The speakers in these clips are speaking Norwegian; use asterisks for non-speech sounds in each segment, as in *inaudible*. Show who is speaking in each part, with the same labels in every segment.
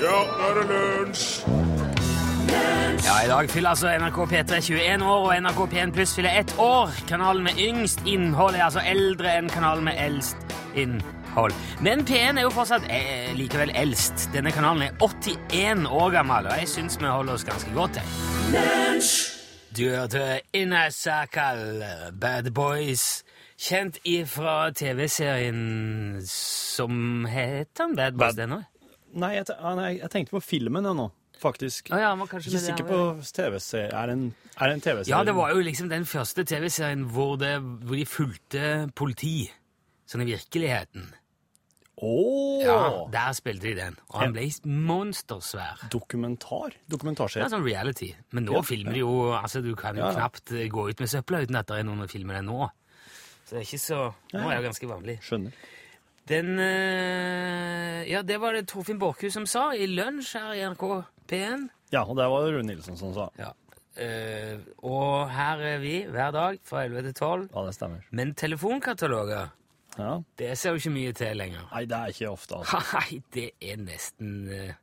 Speaker 1: Ja, nå er det lunsj!
Speaker 2: Ja, I dag fyller altså NRK P3 21 år, og NRK P1 Pluss fyller ett år. Kanalen med yngst innhold er altså eldre enn kanalen med eldst innhold. Men P1 er jo fortsatt eh, likevel eldst. Denne kanalen er 81 år gammel, og jeg syns vi holder oss ganske godt til. Du hørte Inner Circle, Bad Boys, kjent ifra TV-serien som heter Bad Boys,
Speaker 3: Bad-
Speaker 2: den òg?
Speaker 3: Nei, jeg, te- ah, nei, jeg tenkte på filmen jeg nå, faktisk.
Speaker 2: Å Ah, ja, han var kanskje
Speaker 3: Ikke
Speaker 2: med der,
Speaker 3: sikker
Speaker 2: ja.
Speaker 3: på TV-serie. Er det en, er det en TV-serie?
Speaker 2: Ja, det var jo liksom den første TV-serien hvor, det- hvor de fulgte politi. Sånn i virkeligheten.
Speaker 3: Åh!
Speaker 2: Ja, Der spilte de den. Og han
Speaker 3: Ja.
Speaker 2: ble monstersvær.
Speaker 3: Dokumentar?
Speaker 2: Det
Speaker 3: Dokumentarserie.
Speaker 2: er sånn reality. Men nå
Speaker 3: Ja,
Speaker 2: filmer de jo altså Du kan jo
Speaker 3: Ja, ja.
Speaker 2: knapt eh, gå ut med søpla uten at det er noen som filmer deg nå. Så det er ikke så Nå er det ganske vanlig.
Speaker 3: Skjønner.
Speaker 2: Den eh, Ja, det var det Torfinn Borchhus som sa i Lunsj her i NRK P1.
Speaker 3: Ja, og der var det Rune Nilsson som sa.
Speaker 2: Ja. Eh, og her er vi hver dag fra 11 til 12.
Speaker 3: Ja, det stemmer.
Speaker 2: Men telefonkataloger
Speaker 3: Ja.
Speaker 2: Det ser jo ikke mye til lenger. *laughs*
Speaker 3: Nei, det er ikke ofte, altså.
Speaker 2: Nei, det er nesten eh,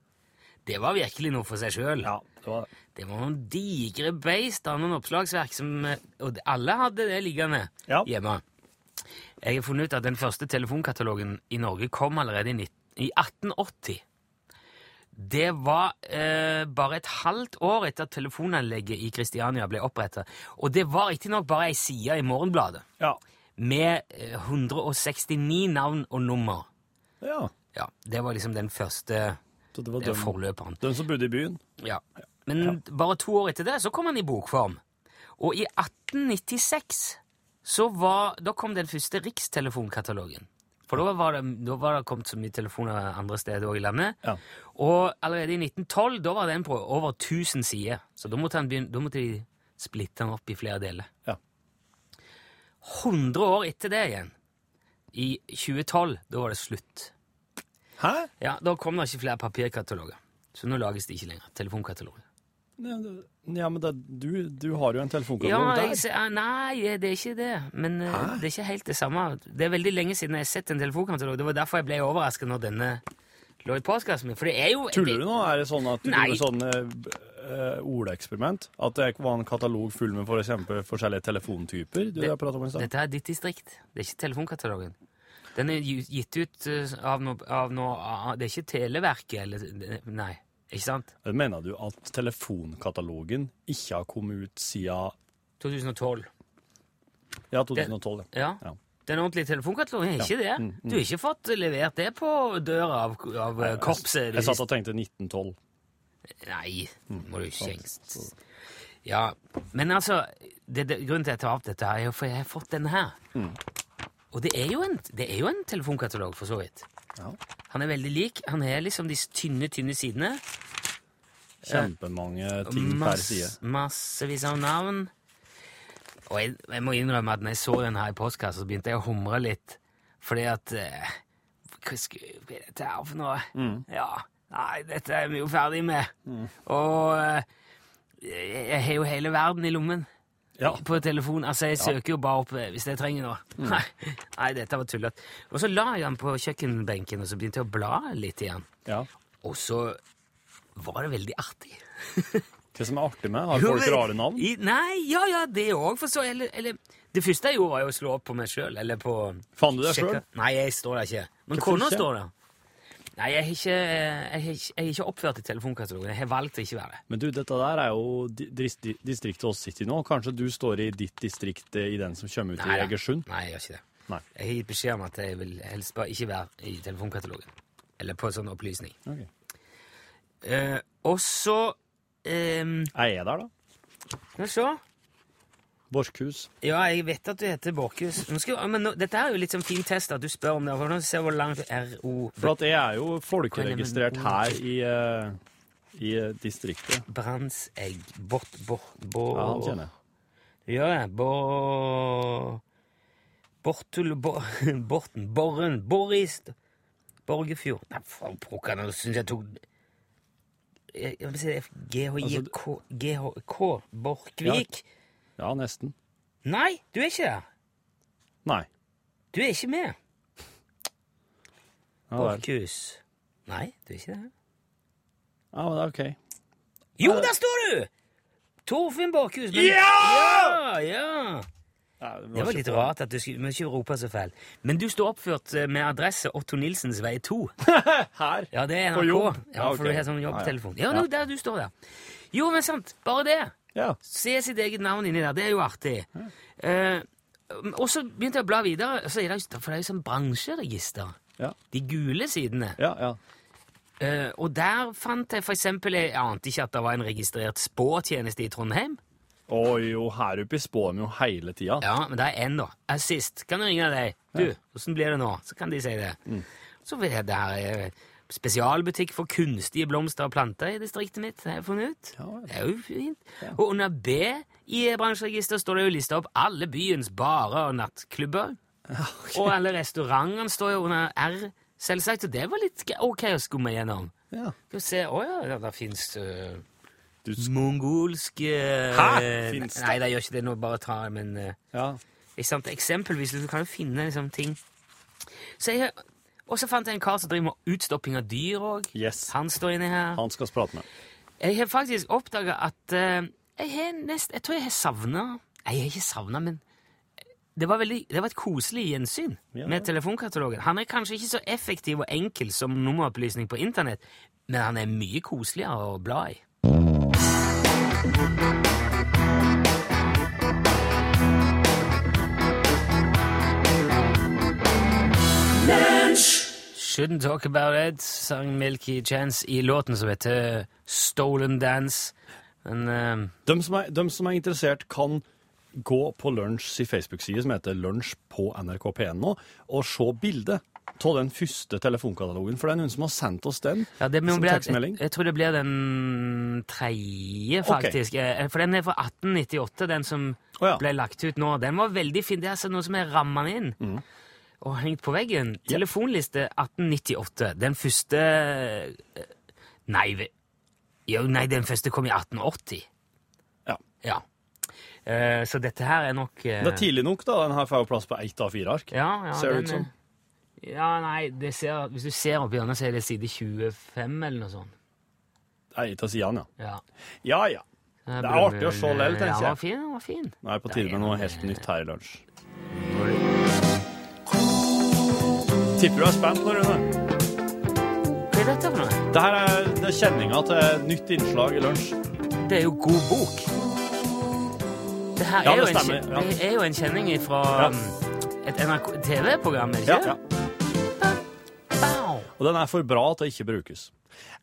Speaker 2: Det var virkelig noe for seg sjøl.
Speaker 3: Ja, det var
Speaker 2: Det var noen digre beist av noen oppslagsverk som eh, Og alle hadde det liggende
Speaker 3: Ja.
Speaker 2: hjemme. Jeg har funnet ut at den første telefonkatalogen i Norge kom allerede i, nitt- i 1880. Det var eh, bare et halvt år etter at telefonanlegget i Kristiania ble oppretta. Og det var riktignok bare ei side i Morgenbladet
Speaker 3: Ja.
Speaker 2: med eh, 169 navn og nummer.
Speaker 3: ja.
Speaker 2: Ja, det var liksom den første
Speaker 3: Så det var
Speaker 2: eh,
Speaker 3: den,
Speaker 2: forløperen.
Speaker 3: den som bodde i byen.
Speaker 2: Ja. Men bare to år etter det så kom han i bokform. Og i 1896 så var, da kom den første rikstelefonkatalogen. For da var det, da var det kommet så mye telefoner andre steder også i landet.
Speaker 3: Ja.
Speaker 2: Og allerede i 1912 da var den på over 1000 sider. Så da måtte, han begynne, da måtte de splitte den opp i flere deler.
Speaker 3: Ja.
Speaker 2: 100 år etter det igjen, i 2012, da var det slutt.
Speaker 3: Hæ?
Speaker 2: Ja, Da kom det ikke flere papirkataloger. Så nå lages det ikke lenger. Telefonkataloger.
Speaker 3: Ja, det- ja men det, du, du har jo en
Speaker 2: Ja,
Speaker 3: telefonkatalog
Speaker 2: jeg,
Speaker 3: der.
Speaker 2: ser- ah, nei, det er ikke det. Men eh, det er ikke helt det samme. Det er veldig lenge siden jeg har sett en telefonkatalog. Det var derfor jeg ble overraska når denne lå i postkassen min. For det er jo
Speaker 3: Tuller du nå? Er det sånn at du
Speaker 2: Nei.
Speaker 3: gjorde sånn eh, eh, ordeeksperiment? At det var en katalog full med for eksempel forskjellige telefontyper? Du
Speaker 2: Det-
Speaker 3: har pratet om i stad?
Speaker 2: Dette er ditt distrikt. Det er ikke telefonkatalogen. Den er gi- gitt ut eh, av noe av noe, ah, Det er ikke Televerket eller eh, Nei. Ikke sant?
Speaker 3: Mener du at telefonkatalogen ikke har kommet ut siden
Speaker 2: 2012.
Speaker 3: ja, 2012? ja.
Speaker 2: Ja.
Speaker 3: Ja. Mm,
Speaker 2: Den ordentlige telefonkatalogen er ikke det. Du har ikke fått levert det på døra av, av eh, korpset. de
Speaker 3: Jeg satt og tenkte 1912.
Speaker 2: Nei, må du kjengst. Ja, men altså, det, det, grunnen til at jeg tar opp dette her, er jo for jeg har fått denne her. Og det er, jo en, det er jo en telefonkatalog, for så vidt.
Speaker 3: Ja.
Speaker 2: Han er veldig lik. Han har liksom de tynne, tynne sidene.
Speaker 3: Kjempemange ting per side.
Speaker 2: massevis av navn. Og jeg, jeg må innrømme at når jeg så den her i postkassa, så begynte jeg å humre litt. Fordi at eh, Hva sku- hva er dette her for noe?
Speaker 3: Mm.
Speaker 2: Ja. Nei, dette er vi jo ferdig med. Og eh, jeg jeg har jo hele verden i lommen
Speaker 3: Ja.
Speaker 2: på telefon. Altså, jeg søker jo bare opp eh, hvis jeg trenger noe.
Speaker 3: Mm.
Speaker 2: Nei, nei, dette var tullete. Og så la jeg den på kjøkkenbenken, og så begynte jeg å bla litt igjen.
Speaker 3: ja.
Speaker 2: Og så var det veldig artig.
Speaker 3: Hva som er artig med, har folk
Speaker 2: Jo, men-
Speaker 3: rare navn?
Speaker 2: I, nei, ja, ja, det òg, for så eller, eller Det første jeg gjorde, var jo å slå opp på meg sjøl, eller på
Speaker 3: Fant du deg
Speaker 2: Sjekke-
Speaker 3: sjøl?
Speaker 2: Nei, jeg står der ikke. Men
Speaker 3: Hvorfor
Speaker 2: kona
Speaker 3: ikke?
Speaker 2: står der. Nei, jeg har ikke, jeg har ikke, jeg har ikke oppført i telefonkatalogen. Jeg har valgt å ikke være det.
Speaker 3: Men du, dette der er jo di- dris- di- distriktet oss sitter i nå. Kanskje du står i ditt distrikt eh, i den som kommer ut i
Speaker 2: da.
Speaker 3: Egersund?
Speaker 2: Nei, jeg gjør ikke det.
Speaker 3: Nei.
Speaker 2: Jeg har gitt beskjed om at jeg vil helst bare ikke være i telefonkatalogen. Eller på sånn opplysning.
Speaker 3: Ok.
Speaker 2: Eh, og så ehm,
Speaker 3: Er jeg der, da?
Speaker 2: Skal vi se.
Speaker 3: Borchhus.
Speaker 2: Ja, jeg vet at du heter Borchhus. Nå skal- Men nå, dette er jo litt sånn fin test at du spør om det. For nå ser jeg hvor langt RO
Speaker 3: For at jeg er jo folkeregistrert her i, eh, i eh, distriktet.
Speaker 2: Brandsegg Bort, bort, bort
Speaker 3: Ja, han kjenner jeg.
Speaker 2: Du gjør det. Bor... Bortul... Bor, *laughs* borten... Borren... Boris... Borgefjord... Nei, faen, pokker, nå syns jeg tok Jeg jeg må si
Speaker 3: Altså,
Speaker 2: det. GHJK GHK Borkvik?
Speaker 3: Ja, nesten.
Speaker 2: Nei, du er ikke der.
Speaker 3: Nei.
Speaker 2: Du er ikke med.
Speaker 3: Ja, vel.
Speaker 2: Borchhus. Nei, du er ikke der.
Speaker 3: Ja, men det er OK.
Speaker 2: Jo, der står du! Torfinn Borchhus. men-
Speaker 4: Ja!
Speaker 2: ja! ja.
Speaker 3: Ja,
Speaker 2: Det var
Speaker 3: ikke
Speaker 2: litt
Speaker 3: på.
Speaker 2: rart at du skulle men ikke rope så fælt. Men du står oppført eh, med adresse Otto Nilsens vei 2.
Speaker 3: *laughs* Her?
Speaker 2: Ja, det er
Speaker 3: *laughs* På
Speaker 2: NRK.
Speaker 3: jobb?
Speaker 2: Ja,
Speaker 3: Ja,
Speaker 2: for
Speaker 3: ok.
Speaker 2: du har sånn jobbtelefon. Ja, nå, der du står der. Jo, men sant, bare det.
Speaker 3: Ja.
Speaker 2: Se sitt eget navn inni der, det er jo artig. Eh, og så begynte jeg å bla videre, og så er det, jo- for det er jo sånn bransjeregister.
Speaker 3: Ja.
Speaker 2: De gule sidene.
Speaker 3: Ja, ja.
Speaker 2: Eh, og der fant jeg for eksempel, jeg ante ikke at det var en registrert spåtjeneste i Trondheim.
Speaker 3: Å jo, her oppe spår vi jo hele tida.
Speaker 2: Ja, men det er én, da. Assist. Kan du ringe deg? Du, åssen blir det nå? Så kan de si det.
Speaker 3: Mm.
Speaker 2: Så er det her eh, spesialbutikk for kunstige blomster og planter i distriktet mitt, har jeg funnet ut.
Speaker 3: Ja,
Speaker 2: det er jo fint. Og under B i bransjeregisteret står det jo lista opp alle byens barer og nattklubber. Og alle restaurantene står jo under R, selvsagt, og det var litt g- ok å skumme gjennom.
Speaker 3: Ja.
Speaker 2: Skal vi se Å ja, der, eh, der fins
Speaker 3: Du sk-
Speaker 2: mongolsk
Speaker 3: Hæ? Finnes det?
Speaker 2: Nei, det gjør ikke det. Nå bare tar jeg, men eh,
Speaker 3: ja.
Speaker 2: ikke sant? Eksempelvis, du kan jo finne liksom, ting. Så jeg, og så fant jeg en kar som driver med utstopping av dyr òg.
Speaker 3: Yes.
Speaker 2: Han står inni her.
Speaker 3: Han skal vi prate med.
Speaker 2: Jeg har faktisk oppdaga at eh, jeg, har nest, jeg tror jeg har savna Nei, jeg har ikke savna, men det var, veldig, det var et koselig gjensyn
Speaker 3: Ja.
Speaker 2: med telefonkatalogen. Han er kanskje ikke så effektiv og enkel som nummeropplysning på internett, men han er mye koseligere å bla i. Shouldn't Talk About It, sang Milky Chance i låten som heter Stolen Dance. Men eh,
Speaker 3: De som, er, de som er interessert, kan gå på Lunsj i Facebook-side som heter Lunsj på NRK P1 nå, og se bildet av den første telefonkatalogen. For det er noen som har sendt oss den.
Speaker 2: ja, det må
Speaker 3: som
Speaker 2: bli, jeg,
Speaker 3: tekstmelding.
Speaker 2: jeg tror det blir den tredje, faktisk. Eh, For den er fra 1898, den som
Speaker 3: Å ja.
Speaker 2: ble lagt ut nå. Den var veldig fin. Det er altså noe som er ramma inn
Speaker 3: Mhm.
Speaker 2: og hengt på veggen. Telefonliste 1898. Den første eh, Nei, ve- jo, nei, den første kom i 1880.
Speaker 3: Ja.
Speaker 2: Ja. Eh, Så dette her er nok eh,
Speaker 3: Det er tidlig nok, da. Den her får jo plass på ett av fire ark.
Speaker 2: Ja, ja,
Speaker 3: Ser det ut
Speaker 2: den,
Speaker 3: som.
Speaker 2: eh, Ja, nei, det ser, hvis du ser opp hjørnet, så er det side 25 eller noe sånt.
Speaker 3: Nei, til sidene,
Speaker 2: Ja.
Speaker 3: ja. Ja ja.
Speaker 2: Det
Speaker 3: er artig å se lell, tenker
Speaker 2: Ja, den
Speaker 3: jeg.
Speaker 2: var fin, den var fin.
Speaker 3: Nå er det på tide med noe helt nytt her i lunsj. Tipper du er spent nå, Rune.
Speaker 2: Hva er dette for noe?
Speaker 3: Det her er, det er kjenninga til et nytt innslag i lunsj.
Speaker 2: Det er jo god bok. Det her er,
Speaker 3: Ja,
Speaker 2: jo
Speaker 3: det
Speaker 2: en,
Speaker 3: stemmer,
Speaker 2: kjen-
Speaker 3: ja.
Speaker 2: det er jo en kjenning fra um,
Speaker 3: Ja.
Speaker 2: et NRK TV-program, er det
Speaker 3: Ja.
Speaker 2: ikke?
Speaker 3: ja.
Speaker 2: Bow.
Speaker 3: Og den er for bra til å ikke brukes.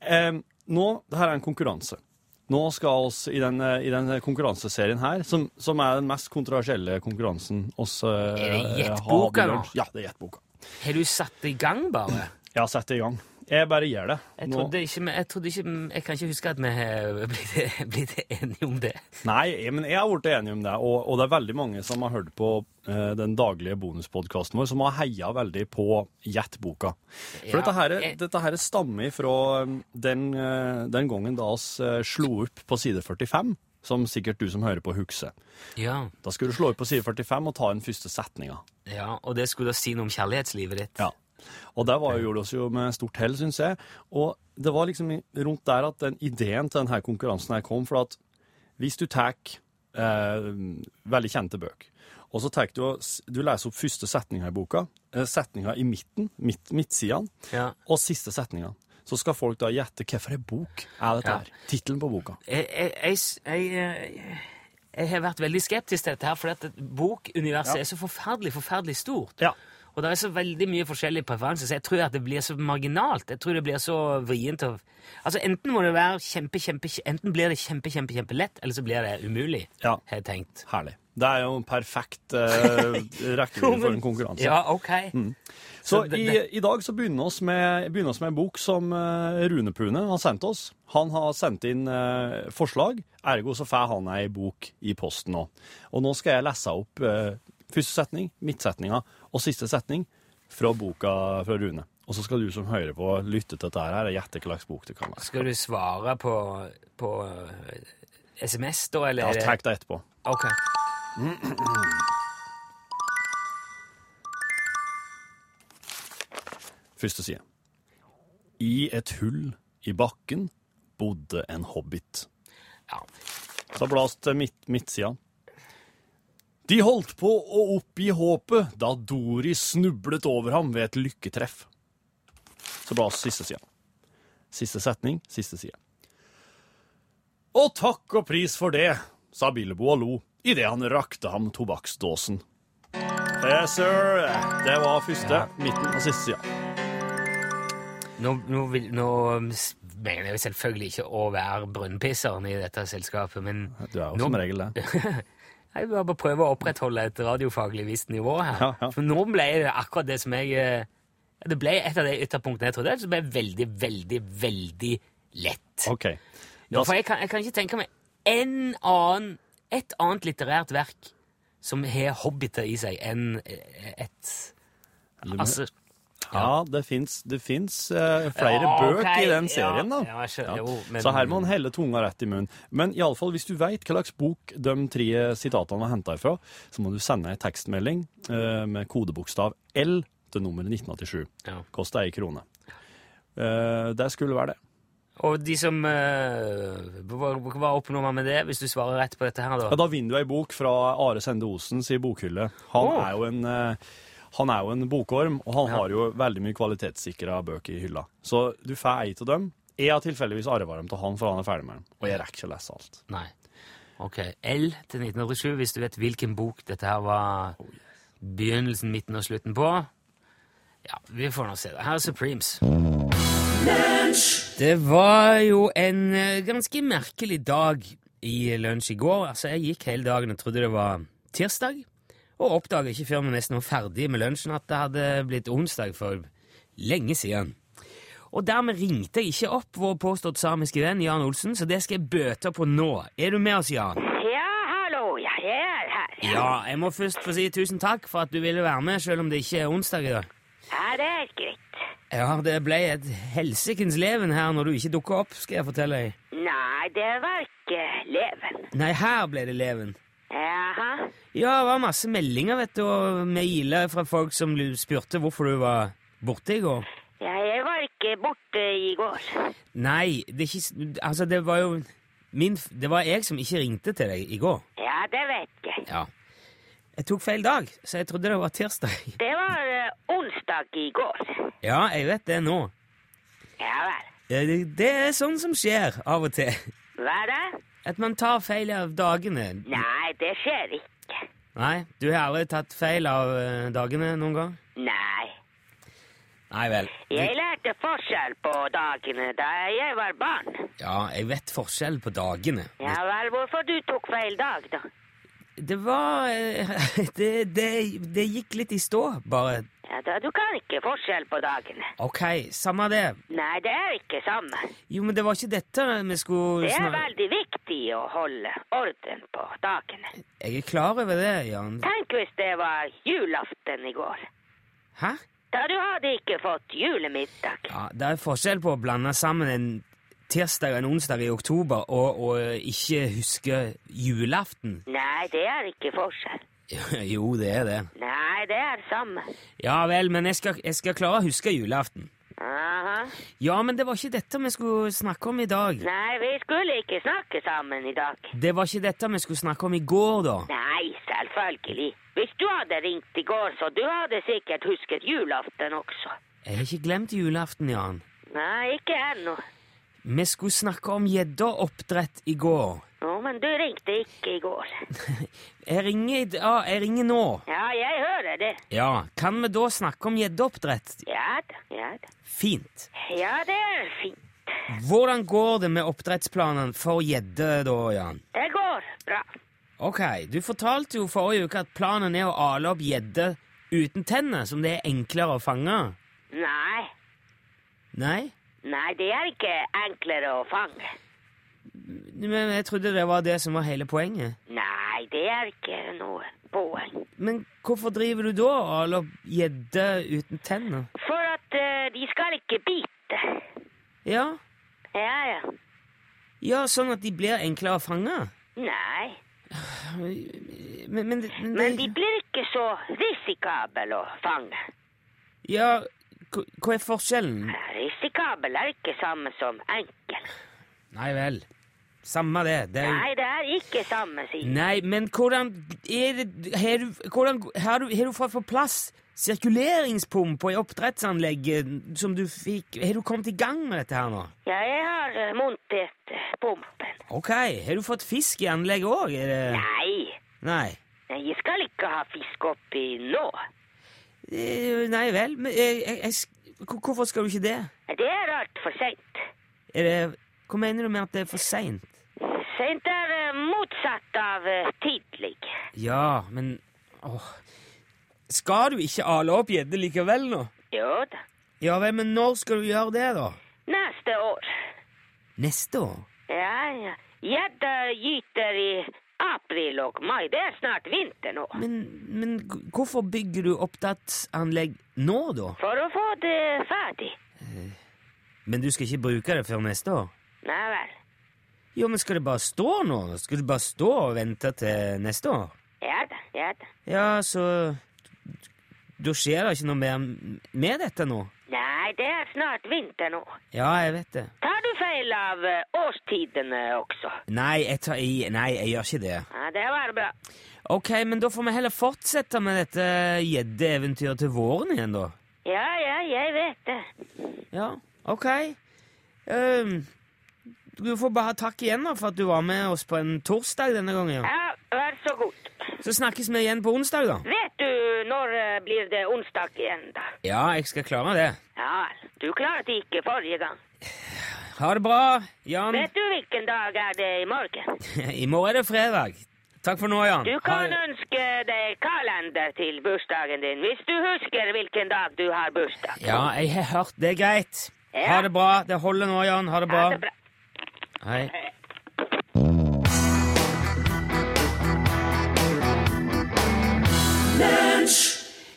Speaker 3: Eh, nå, det her er en konkurranse. Nå skal oss i den, eh, i den konkurranseserien her, som, som er den mest kontroversielle konkurransen oss eh,
Speaker 2: det
Speaker 3: eh,
Speaker 2: Gjettboka
Speaker 3: har-
Speaker 2: nå?
Speaker 3: Ja, det er gjettboka.
Speaker 2: Har du satt i gang bare?
Speaker 3: Jeg har sett det i gang. Jeg bare gjør det.
Speaker 2: Jeg
Speaker 3: Nå-
Speaker 2: trodde ikke, vi- jeg, trodde ikke, jeg kan ikke huske at vi har blitt, *laughs* blitt enige om det.
Speaker 3: Nei, jeg- men jeg har blitt enig om det, og, og det er veldig mange som har hørt på eh, den daglige bonuspodkasten vår, som har heia veldig på Gjett-boka. For
Speaker 2: Ja,
Speaker 3: dette, her,
Speaker 2: jeg-
Speaker 3: dette her stammer fra eh, den, eh, den gangen da oss eh, slo opp på side 45, som sikkert du som hører på husker.
Speaker 2: Ja,
Speaker 3: Da skulle du slå opp på side 45 og ta den første setninga.
Speaker 2: ja og det skulle da si noe om kjærlighetslivet ditt.
Speaker 3: Ja. Og det var, gjorde oss jo med stort hell, syns jeg. Og det var liksom rundt der at den ideen til denne konkurransen her kom. For at hvis du tar eh, veldig kjente bøker, og så tar du og s- Du leser opp første setninga i boka, eh, setninga i midten, midt, midtsidene,
Speaker 2: Ja.
Speaker 3: og siste setninga. Så skal folk da gjette hvilken bok er dette
Speaker 2: Ja.
Speaker 3: her. Tittelen på boka.
Speaker 2: jeg, jeg, jeg, s- jeg, eh, jeg har vært veldig skeptisk til dette her, for at bokuniverset er
Speaker 3: Ja.
Speaker 2: så forferdelig, forferdelig stort.
Speaker 3: Ja.
Speaker 2: Og det er så veldig mye forskjellige preferanser, så jeg tror at det blir så marginalt. Jeg tror det blir så vrient. Av, altså, enten må det være kjempe, kjempe, kje- enten blir det kjempe, kjempe, kjempelett, eller så blir det umulig,
Speaker 3: Ja.
Speaker 2: har jeg tenkt.
Speaker 3: Herlig. Det er jo en perfekt eh, rekkevidde for en konkurranse.
Speaker 2: Ja, ok.
Speaker 3: Så
Speaker 2: Så det-
Speaker 3: i, i dag så begynner oss med, begynner oss med en bok som eh, Rune Pune har sendt oss. Han har sendt inn eh, forslag, ergo så får han ei bok i posten nå. Og nå skal jeg lese opp eh, første setning, midtsetninga og siste setning fra boka fra Rune. Og så skal du som hører på lytte til dette her, gjette hva slags bok det kan være.
Speaker 2: Skal du svare på, på eh, SMS, da, eller?
Speaker 3: Ja,
Speaker 2: er det-
Speaker 3: Tag deg etterpå.
Speaker 2: Ok.
Speaker 3: Første side. I et hull i bakken bodde en hobbit.
Speaker 2: Ja.
Speaker 3: Så blas til midt, midtsida. De holdt på å oppgi håpet da Dori snublet over ham ved et lykketreff. Så blas siste sida. Siste setning, siste side. Og takk og pris for det, sa Bilbo og lo idet han rakte ham tobakksdåsen. Yes, sir. Det var første, midten og siste sida.
Speaker 2: Nå, nå, vil, nå s- mener jeg jo selvfølgelig ikke å være brønnpisseren i dette selskapet, men
Speaker 3: Du er jo
Speaker 2: nå-
Speaker 3: som regel det.
Speaker 2: Jeg vil bare prøve å opprettholde et radiofaglig visst nivå her.
Speaker 3: Ja, ja.
Speaker 2: For nå ble det akkurat det som jeg eh, Det ble et av de ytterpunktene jeg trodde. Så ble det veldig, veldig, veldig lett.
Speaker 3: OK.
Speaker 2: Ja, for jeg kan, jeg kan ikke tenke meg en annen, et annet litterært verk som har hobbiter i seg, enn eh, et Altså
Speaker 3: Ja, det fins, det fins eh, flere
Speaker 2: Ja,
Speaker 3: bøk
Speaker 2: ok,
Speaker 3: i den
Speaker 2: ja,
Speaker 3: serien, da.
Speaker 2: ja, jeg skjønner jo, men-
Speaker 3: Så her må en helle tunga rett i munnen. Men i alle fall, hvis du veit hva slags bok de tre sitatene var henta ifra, så må du sende ei tekstmelding eh, med kodebokstav L til nummeret 1987.
Speaker 2: ja.
Speaker 3: Kosta ei krone. Eh, det skulle være det.
Speaker 2: Og de som eh, Hva hva oppnår man med det, hvis du svarer rett på dette her,
Speaker 3: Ja,
Speaker 2: da?
Speaker 3: da vinner du ei bok fra Are Sende Osens i bokhylle. Han
Speaker 2: Åh.
Speaker 3: er jo en... eh, han er jo en bokorm, og han har jo veldig mye kvalitetssikra bøker i hylla. Så du får ei av dem. Jeg har tilfeldigvis arva dem til han, for han er ferdig med dem. Og jeg rekker ikke å lese alt.
Speaker 2: Nei. Ok. L til 1987, hvis du vet hvilken bok dette her var begynnelsen, midten og slutten på. Ja, vi får nå se. det. Her er Supremes. Det var jo en eh, ganske merkelig dag i lunsj i går. Altså, jeg gikk hele dagen og trodde det var tirsdag, og oppdaga ikke før vi nesten var ferdig med lunsjen at det hadde blitt onsdag for lenge siden. Og dermed ringte jeg ikke opp vår påstått samiske venn Jan Olsen, så det skal jeg bøte på nå. Er du med oss, Jan?
Speaker 5: Ja, hallo, ja, jeg er her.
Speaker 2: Ja, jeg må først få si tusen takk for at du ville være med, selv om det ikke er onsdag i dag.
Speaker 5: Ja, det er greit.
Speaker 2: Ja, det ble et helsikens leven her når du ikke dukka opp, skal jeg fortelle deg.
Speaker 5: Nei, det var ikke leven.
Speaker 2: Nei, her ble det leven.
Speaker 5: Jaha.
Speaker 2: Ja, det var masse meldinger, vet du, og mailer fra folk som lu- spurte hvorfor du var borte i går.
Speaker 5: Ja, jeg var ikke borte i går.
Speaker 2: Nei, det er ikke s- Altså, det var jo min f- Det var jeg som ikke ringte til deg i går.
Speaker 5: Ja, det vet jeg.
Speaker 2: Ja. Jeg tok feil dag, så jeg trodde det var tirsdag.
Speaker 5: Det var eh, onsdag i går.
Speaker 2: *laughs* Ja, jeg vet det nå.
Speaker 5: Ja vel.
Speaker 2: Eh, Det det er sånn som skjer av og til.
Speaker 5: Hva da?
Speaker 2: At man tar feil av dagene.
Speaker 5: Nei, det skjer ikke.
Speaker 2: Nei, du har aldri tatt feil av eh, dagene noen gang?
Speaker 5: Nei.
Speaker 2: Nei vel.
Speaker 5: Jeg lærte forskjell på dagene da jeg var barn.
Speaker 2: Ja, jeg vet forskjell på dagene.
Speaker 5: Ja vel, hvorfor du tok feil dag da?
Speaker 2: Det var eh, *laughs* det, det, det gikk litt i stå, bare.
Speaker 5: Ja, da, du kan ikke forskjell på dagene.
Speaker 2: Ok, samme det.
Speaker 5: Nei, det er ikke samme.
Speaker 2: Jo, men det var ikke dette vi skulle
Speaker 5: Det er
Speaker 2: snakke
Speaker 5: veldig viktig å holde orden på dagene.
Speaker 2: Jeg er klar over det, Jan.
Speaker 5: Tenk hvis det var julaften i går.
Speaker 2: Hæ?
Speaker 5: Da du hadde ikke fått julemiddag.
Speaker 2: Ja, Det er forskjell på å blande sammen en tirsdag og en onsdag i oktober og, og ikke huske julaften. *laughs*
Speaker 5: Nei, det er ikke forskjell.
Speaker 2: Jo, det er det.
Speaker 5: Nei, det er samme.
Speaker 2: Ja vel, men jeg skal, jeg skal klare å huske julaften.
Speaker 5: Aha.
Speaker 2: Ja, men det var ikke dette vi skulle snakke om i dag.
Speaker 5: Nei, vi skulle ikke snakke sammen i dag.
Speaker 2: Det var ikke dette vi skulle snakke om i går, da.
Speaker 5: Nei, selvfølgelig. Hvis du hadde ringt i går, så du hadde sikkert husket julaften også.
Speaker 2: Jeg har ikke glemt julaften, Jan.
Speaker 5: Nei, ikke ennå.
Speaker 2: Vi skulle snakke om gjeddeoppdrett i går.
Speaker 5: Å, men du ringte ikke i går.
Speaker 2: Jeg ringer, i d- ja, jeg ringer nå.
Speaker 5: Ja, jeg hører det.
Speaker 2: Ja, kan vi da snakke om gjeddeoppdrett?
Speaker 5: Ja da, ja da.
Speaker 2: Fint.
Speaker 5: Ja, det er fint.
Speaker 2: Hvordan går det med oppdrettsplanene for gjedde, da, Jan?
Speaker 5: Det går bra.
Speaker 2: Ok, du fortalte jo forrige uke at planen er å ale opp gjedde uten tenner, som det er enklere å fange.
Speaker 5: Nei,
Speaker 2: Nei?
Speaker 5: nei, det er ikke enklere å fange.
Speaker 2: Men jeg trodde det var det som var hele poenget.
Speaker 5: Nei, det er ikke noe poeng.
Speaker 2: Men hvorfor driver du da og aler opp gjedde uten tenner?
Speaker 5: For at eh, de skal ikke bite.
Speaker 2: Ja,
Speaker 5: Ja, ja.
Speaker 2: ja, sånn at de blir enklere å fange.
Speaker 5: Nei,
Speaker 2: Men, men, det-
Speaker 5: men de blir ikke så risikable å fange.
Speaker 2: Ja, hva hva er forskjellen?
Speaker 5: Risikabel er ikke samme som enkel.
Speaker 2: Nei vel. Samme det. det er jo...
Speaker 5: Nei, det er ikke samme side.
Speaker 2: Nei, men hvordan er det Har du, hvordan, har du, har du fått på plass sirkuleringspumpa i oppdrettsanlegget som du fikk Har du kommet i gang med dette her nå?
Speaker 5: Jeg har eh, montert eh, pumpen.
Speaker 2: Ok, har du fått fisk i anlegget òg? Er det
Speaker 5: Nei,
Speaker 2: Nei.
Speaker 5: nei, jeg skal ikke ha fisk oppi nå.
Speaker 2: Eh, Nei vel, men jeg, jeg, jeg, sk- hvor- hvorfor skal du ikke det?
Speaker 5: Det er altfor seint.
Speaker 2: Er det Hva mener du med at det er for seint?
Speaker 5: Seint er eh, motsatt av eh, tidlig.
Speaker 2: Ja, men åh. Skal du ikke ale opp gjedde likevel nå?
Speaker 5: Jo da.
Speaker 2: Ja vel, men når skal du gjøre det, da?
Speaker 5: Neste år.
Speaker 2: Neste år?
Speaker 5: Ja, ja. Gjedda gyter i april og mai. Det er snart vinter nå.
Speaker 2: Men, men g- hvorfor bygger du oppdrettsanlegg nå, da?
Speaker 5: For å få det ferdig.
Speaker 2: Men du skal ikke bruke det før neste år?
Speaker 5: Nei vel.
Speaker 2: Jo, men skal det bare stå nå? Skal det bare stå og vente til neste år?
Speaker 5: Ja da, ja da.
Speaker 2: Ja, så Da skjer det ikke noe mer med dette nå?
Speaker 5: Nei, det er snart vinter nå.
Speaker 2: Ja, jeg vet det.
Speaker 5: Tar du feil av eh, årstidene også?
Speaker 2: Nei, jeg tar i. Nei, jeg gjør ikke det.
Speaker 5: Ja, det var bra.
Speaker 2: Ok, men da får vi heller fortsette med dette gjeddeeventyret til våren igjen, da.
Speaker 5: Ja, ja, jeg vet det.
Speaker 2: Ja, ok. Ehm, du får bare ha takk igjen da for at du var med oss på en torsdag denne gangen.
Speaker 5: Ja, vær så god.
Speaker 2: Så snakkes vi igjen på onsdag, da.
Speaker 5: Vet du når eh, blir det onsdag igjen, da?
Speaker 2: Ja, jeg skal klare det.
Speaker 5: Ja vel. Du klarte ikke forrige gang.
Speaker 2: Ha det bra, Jan.
Speaker 5: Vet du hvilken dag er det i morgen?
Speaker 2: I morgen er det fredag. Takk for nå, Jan.
Speaker 5: Du kan
Speaker 2: Ha-
Speaker 5: ønske deg kalender til bursdagen din, hvis du husker hvilken dag du har bursdag.
Speaker 2: Ja, jeg har hørt. Det er greit.
Speaker 5: Ja.
Speaker 2: Ha det bra. Det holder nå, Jan. Ha det bra.
Speaker 5: Ha det bra.
Speaker 2: Hei.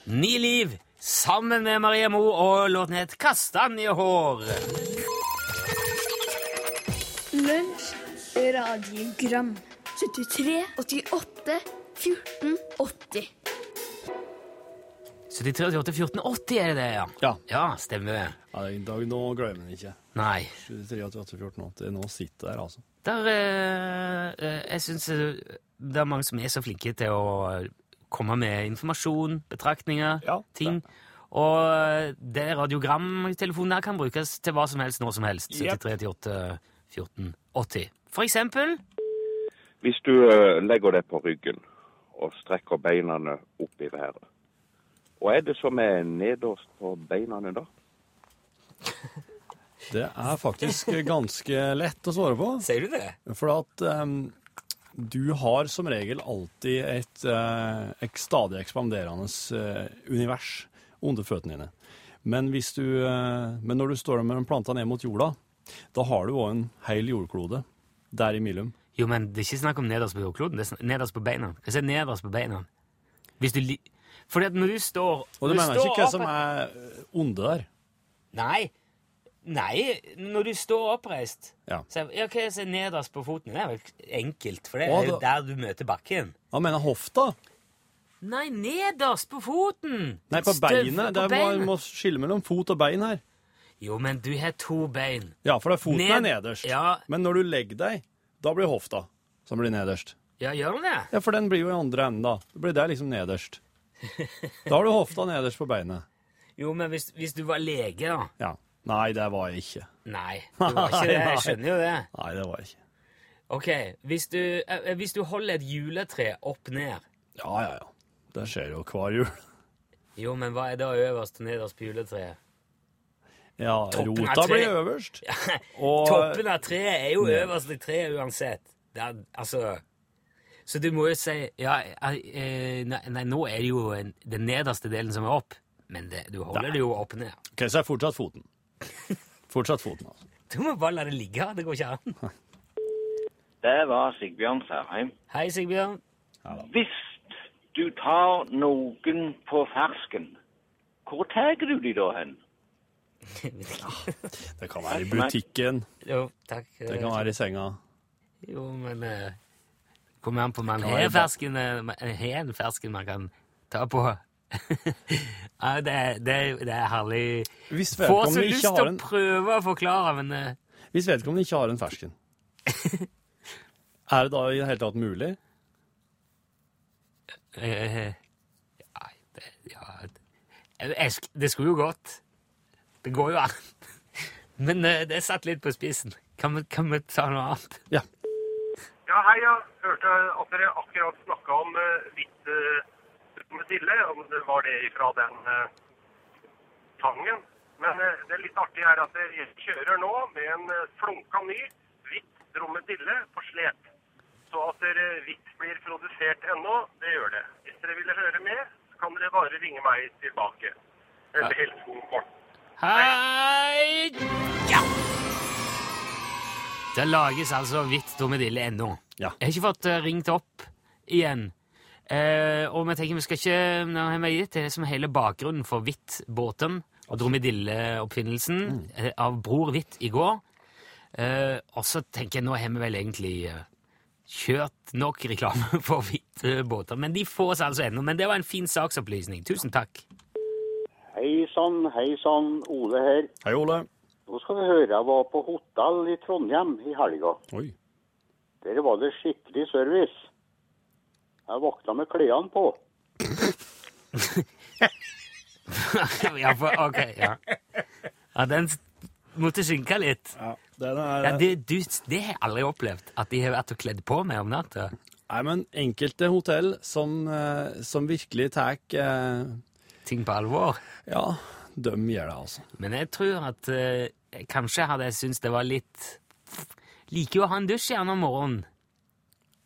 Speaker 2: Ny liv sammen med Marie Mo og låten het Kastanjehår.
Speaker 6: Lunsj, radiogram 73, 88, 14, 80
Speaker 2: 73, 88, 14, 80 er det det, ja?
Speaker 3: Ja.
Speaker 2: Ja, stemmer det.
Speaker 3: Ja, I dag nå glemmer den ikke.
Speaker 2: Nei.
Speaker 3: 23, 88, 14, 80. Nå sitter der, altså.
Speaker 2: Der, eh, eh, jeg syns det er mange som er så flinke til å komme med informasjon, betraktninger,
Speaker 3: Ja,
Speaker 2: ting. Og eh, det radiogramtelefonen der kan brukes til hva som helst, når som helst.
Speaker 3: Yep.
Speaker 2: 73 88 14 80. For eksempel
Speaker 7: Hvis du eh, legger deg på ryggen og strekker beina opp i været, hva er det som er nederst på beina da?
Speaker 3: Det er faktisk ganske lett å svare på.
Speaker 2: Sier du det?
Speaker 3: For at em, du har som regel alltid et, eh, et stadig ekspanderende eh, univers under føttene dine. Men, hvis du, eh, men når du står med den planta ned mot jorda, da har du òg en hel jordklode der imellom.
Speaker 2: Jo, men det er ikke snakk om nederst på jordkloden. Det er sn- nederst på beina. Hva sier nederst på beina? Hvis du li... Fordi at når du står
Speaker 3: Og
Speaker 2: når
Speaker 3: du mener
Speaker 2: står
Speaker 3: ikke hva
Speaker 2: opp-
Speaker 3: som er onde der.
Speaker 2: Nei. Nei, når du står oppreist
Speaker 3: Ja.
Speaker 2: så er- ja, Hva er det som er nederst på foten? Det er vel enkelt, for det
Speaker 3: Å,
Speaker 2: er jo
Speaker 3: da-
Speaker 2: der du møter bakken.
Speaker 3: Han mener hofta.
Speaker 2: Nei, nederst på foten!
Speaker 3: Nei, på
Speaker 2: Støv-
Speaker 3: beinet. Det
Speaker 2: på
Speaker 3: er, man
Speaker 2: beinet.
Speaker 3: må skille mellom fot og bein her.
Speaker 2: Jo, men du har to bein.
Speaker 3: Ja, for det er foten er
Speaker 2: Ned-
Speaker 3: nederst.
Speaker 2: ja.
Speaker 3: Men når du legger deg, da blir hofta som blir nederst.
Speaker 2: Ja, gjør du det?
Speaker 3: Ja, for den blir jo i andre enden, da. Da blir det
Speaker 2: *laughs*
Speaker 3: liksom nederst. Da har du hofta nederst på beinet.
Speaker 2: Jo, men hvis, hvis du var lege, da
Speaker 3: Ja. Nei, det var jeg ikke.
Speaker 2: Nei, du var
Speaker 3: *laughs*
Speaker 2: ikke det. Jeg skjønner jo det.
Speaker 3: Nei, det var jeg ikke.
Speaker 2: Ok, Hvis du, eh, hvis du holder et juletre opp ned
Speaker 3: Ja, ja, ja. Det skjer jo hver jul.
Speaker 2: Jo, men hva er da øverst og nederst på juletreet? *laughs*
Speaker 3: Ja,
Speaker 2: Toppen er
Speaker 3: rota
Speaker 2: tre.
Speaker 3: blir øverst. Og
Speaker 2: Toppen av treet er jo øverst i treet uansett. Det er, altså Så du må jo si Ja, eh, nei, nei, nå er det jo en, den nederste delen som er opp, men det, du holder det jo opp ned.
Speaker 3: Ok, så er fortsatt foten. Fortsatt foten, altså.
Speaker 2: Du må bare la det ligge. Det går ikke an.
Speaker 8: Det var Sigbjørn Sørheim.
Speaker 2: Hei, Sigbjørn. *laughs*
Speaker 8: Hvis du tar noen på fersken, hvor tar du de da hen?
Speaker 3: Det kan være i butikken,
Speaker 2: Jo, takk.
Speaker 3: det kan være i senga.
Speaker 2: Jo, men eh, Kommer an på man
Speaker 3: være
Speaker 2: har
Speaker 3: ba-
Speaker 2: fersken eh, man har en fersken man kan ta på. *laughs* ja, det, er- det, er- det er herlig.
Speaker 3: Hvis
Speaker 2: Får så
Speaker 3: vedkommende
Speaker 2: lyst til
Speaker 3: ikke har
Speaker 2: å
Speaker 3: en,
Speaker 2: prøve å forklare, men eh, *laughs*
Speaker 3: hvis vedkommende ikke har en fersken, Er det da i det hele tatt mulig?
Speaker 2: Eh, ja, det, ja det, jeg sk- det skulle jo gått. Det går jo an. *laughs* Men eh, det er satt litt på spissen. Kan vi, kan vi ta noe annet?
Speaker 3: Ja.
Speaker 9: Ja, hei, jeg hørte at dere akkurat snakket om eh, hvitt uh, krokodille, om det var det fra den eh, tangen. Men eh, det litt artige er at eh, jeg kjører nå med en eh, flunka ny hvitt dromedille på slep. Så at dere hvitt blir produsert ennå, det gjør det. Hvis dere ville høre mer, så kan dere bare ringe meg tilbake. Eller hilsen Morten.
Speaker 2: Hei! Ja! Det lages altså hvitt dromedille ennå.
Speaker 3: Ja.
Speaker 2: Jeg har ikke fått eh, ringt opp igjen. Eh, og vi tenker vi skal ikke Nå har vi gitt det som er hele bakgrunnen for Hvitt-båten og dromedilleoppfinnelsen eh, av Bror Hvitt i går. Eh, og så tenker jeg nå har vi vel egentlig eh, kjørt nok reklame *laughs* for Hvitt-båter. Men de fås altså ennå. Men det var en fin saksopplysning. Tusen takk.
Speaker 10: Hei sann, hei sann, Ole her.
Speaker 3: Hei, Ole.
Speaker 10: Nå skal vi høre, jeg var på hotell i Trondheim i helga.
Speaker 3: Oi.
Speaker 10: Der var det skikkelig service. Jeg våkna med klærne på.
Speaker 2: *laughs* ja, for, ok, ja. ja den s- måtte synke litt.
Speaker 3: Ja, den er...
Speaker 2: Ja, det, du, det har jeg aldri opplevd, at de har vært og kledd på meg om natta.
Speaker 3: Nei, men enkelte hotell som, eh, som virkelig tar eh,
Speaker 2: Ting på alvor.
Speaker 3: Ja, de gjør det, altså.
Speaker 2: Men jeg tror at eh, jeg kanskje hadde jeg syntes det var litt Liker jo å ha en dusj gjerne om morgenen.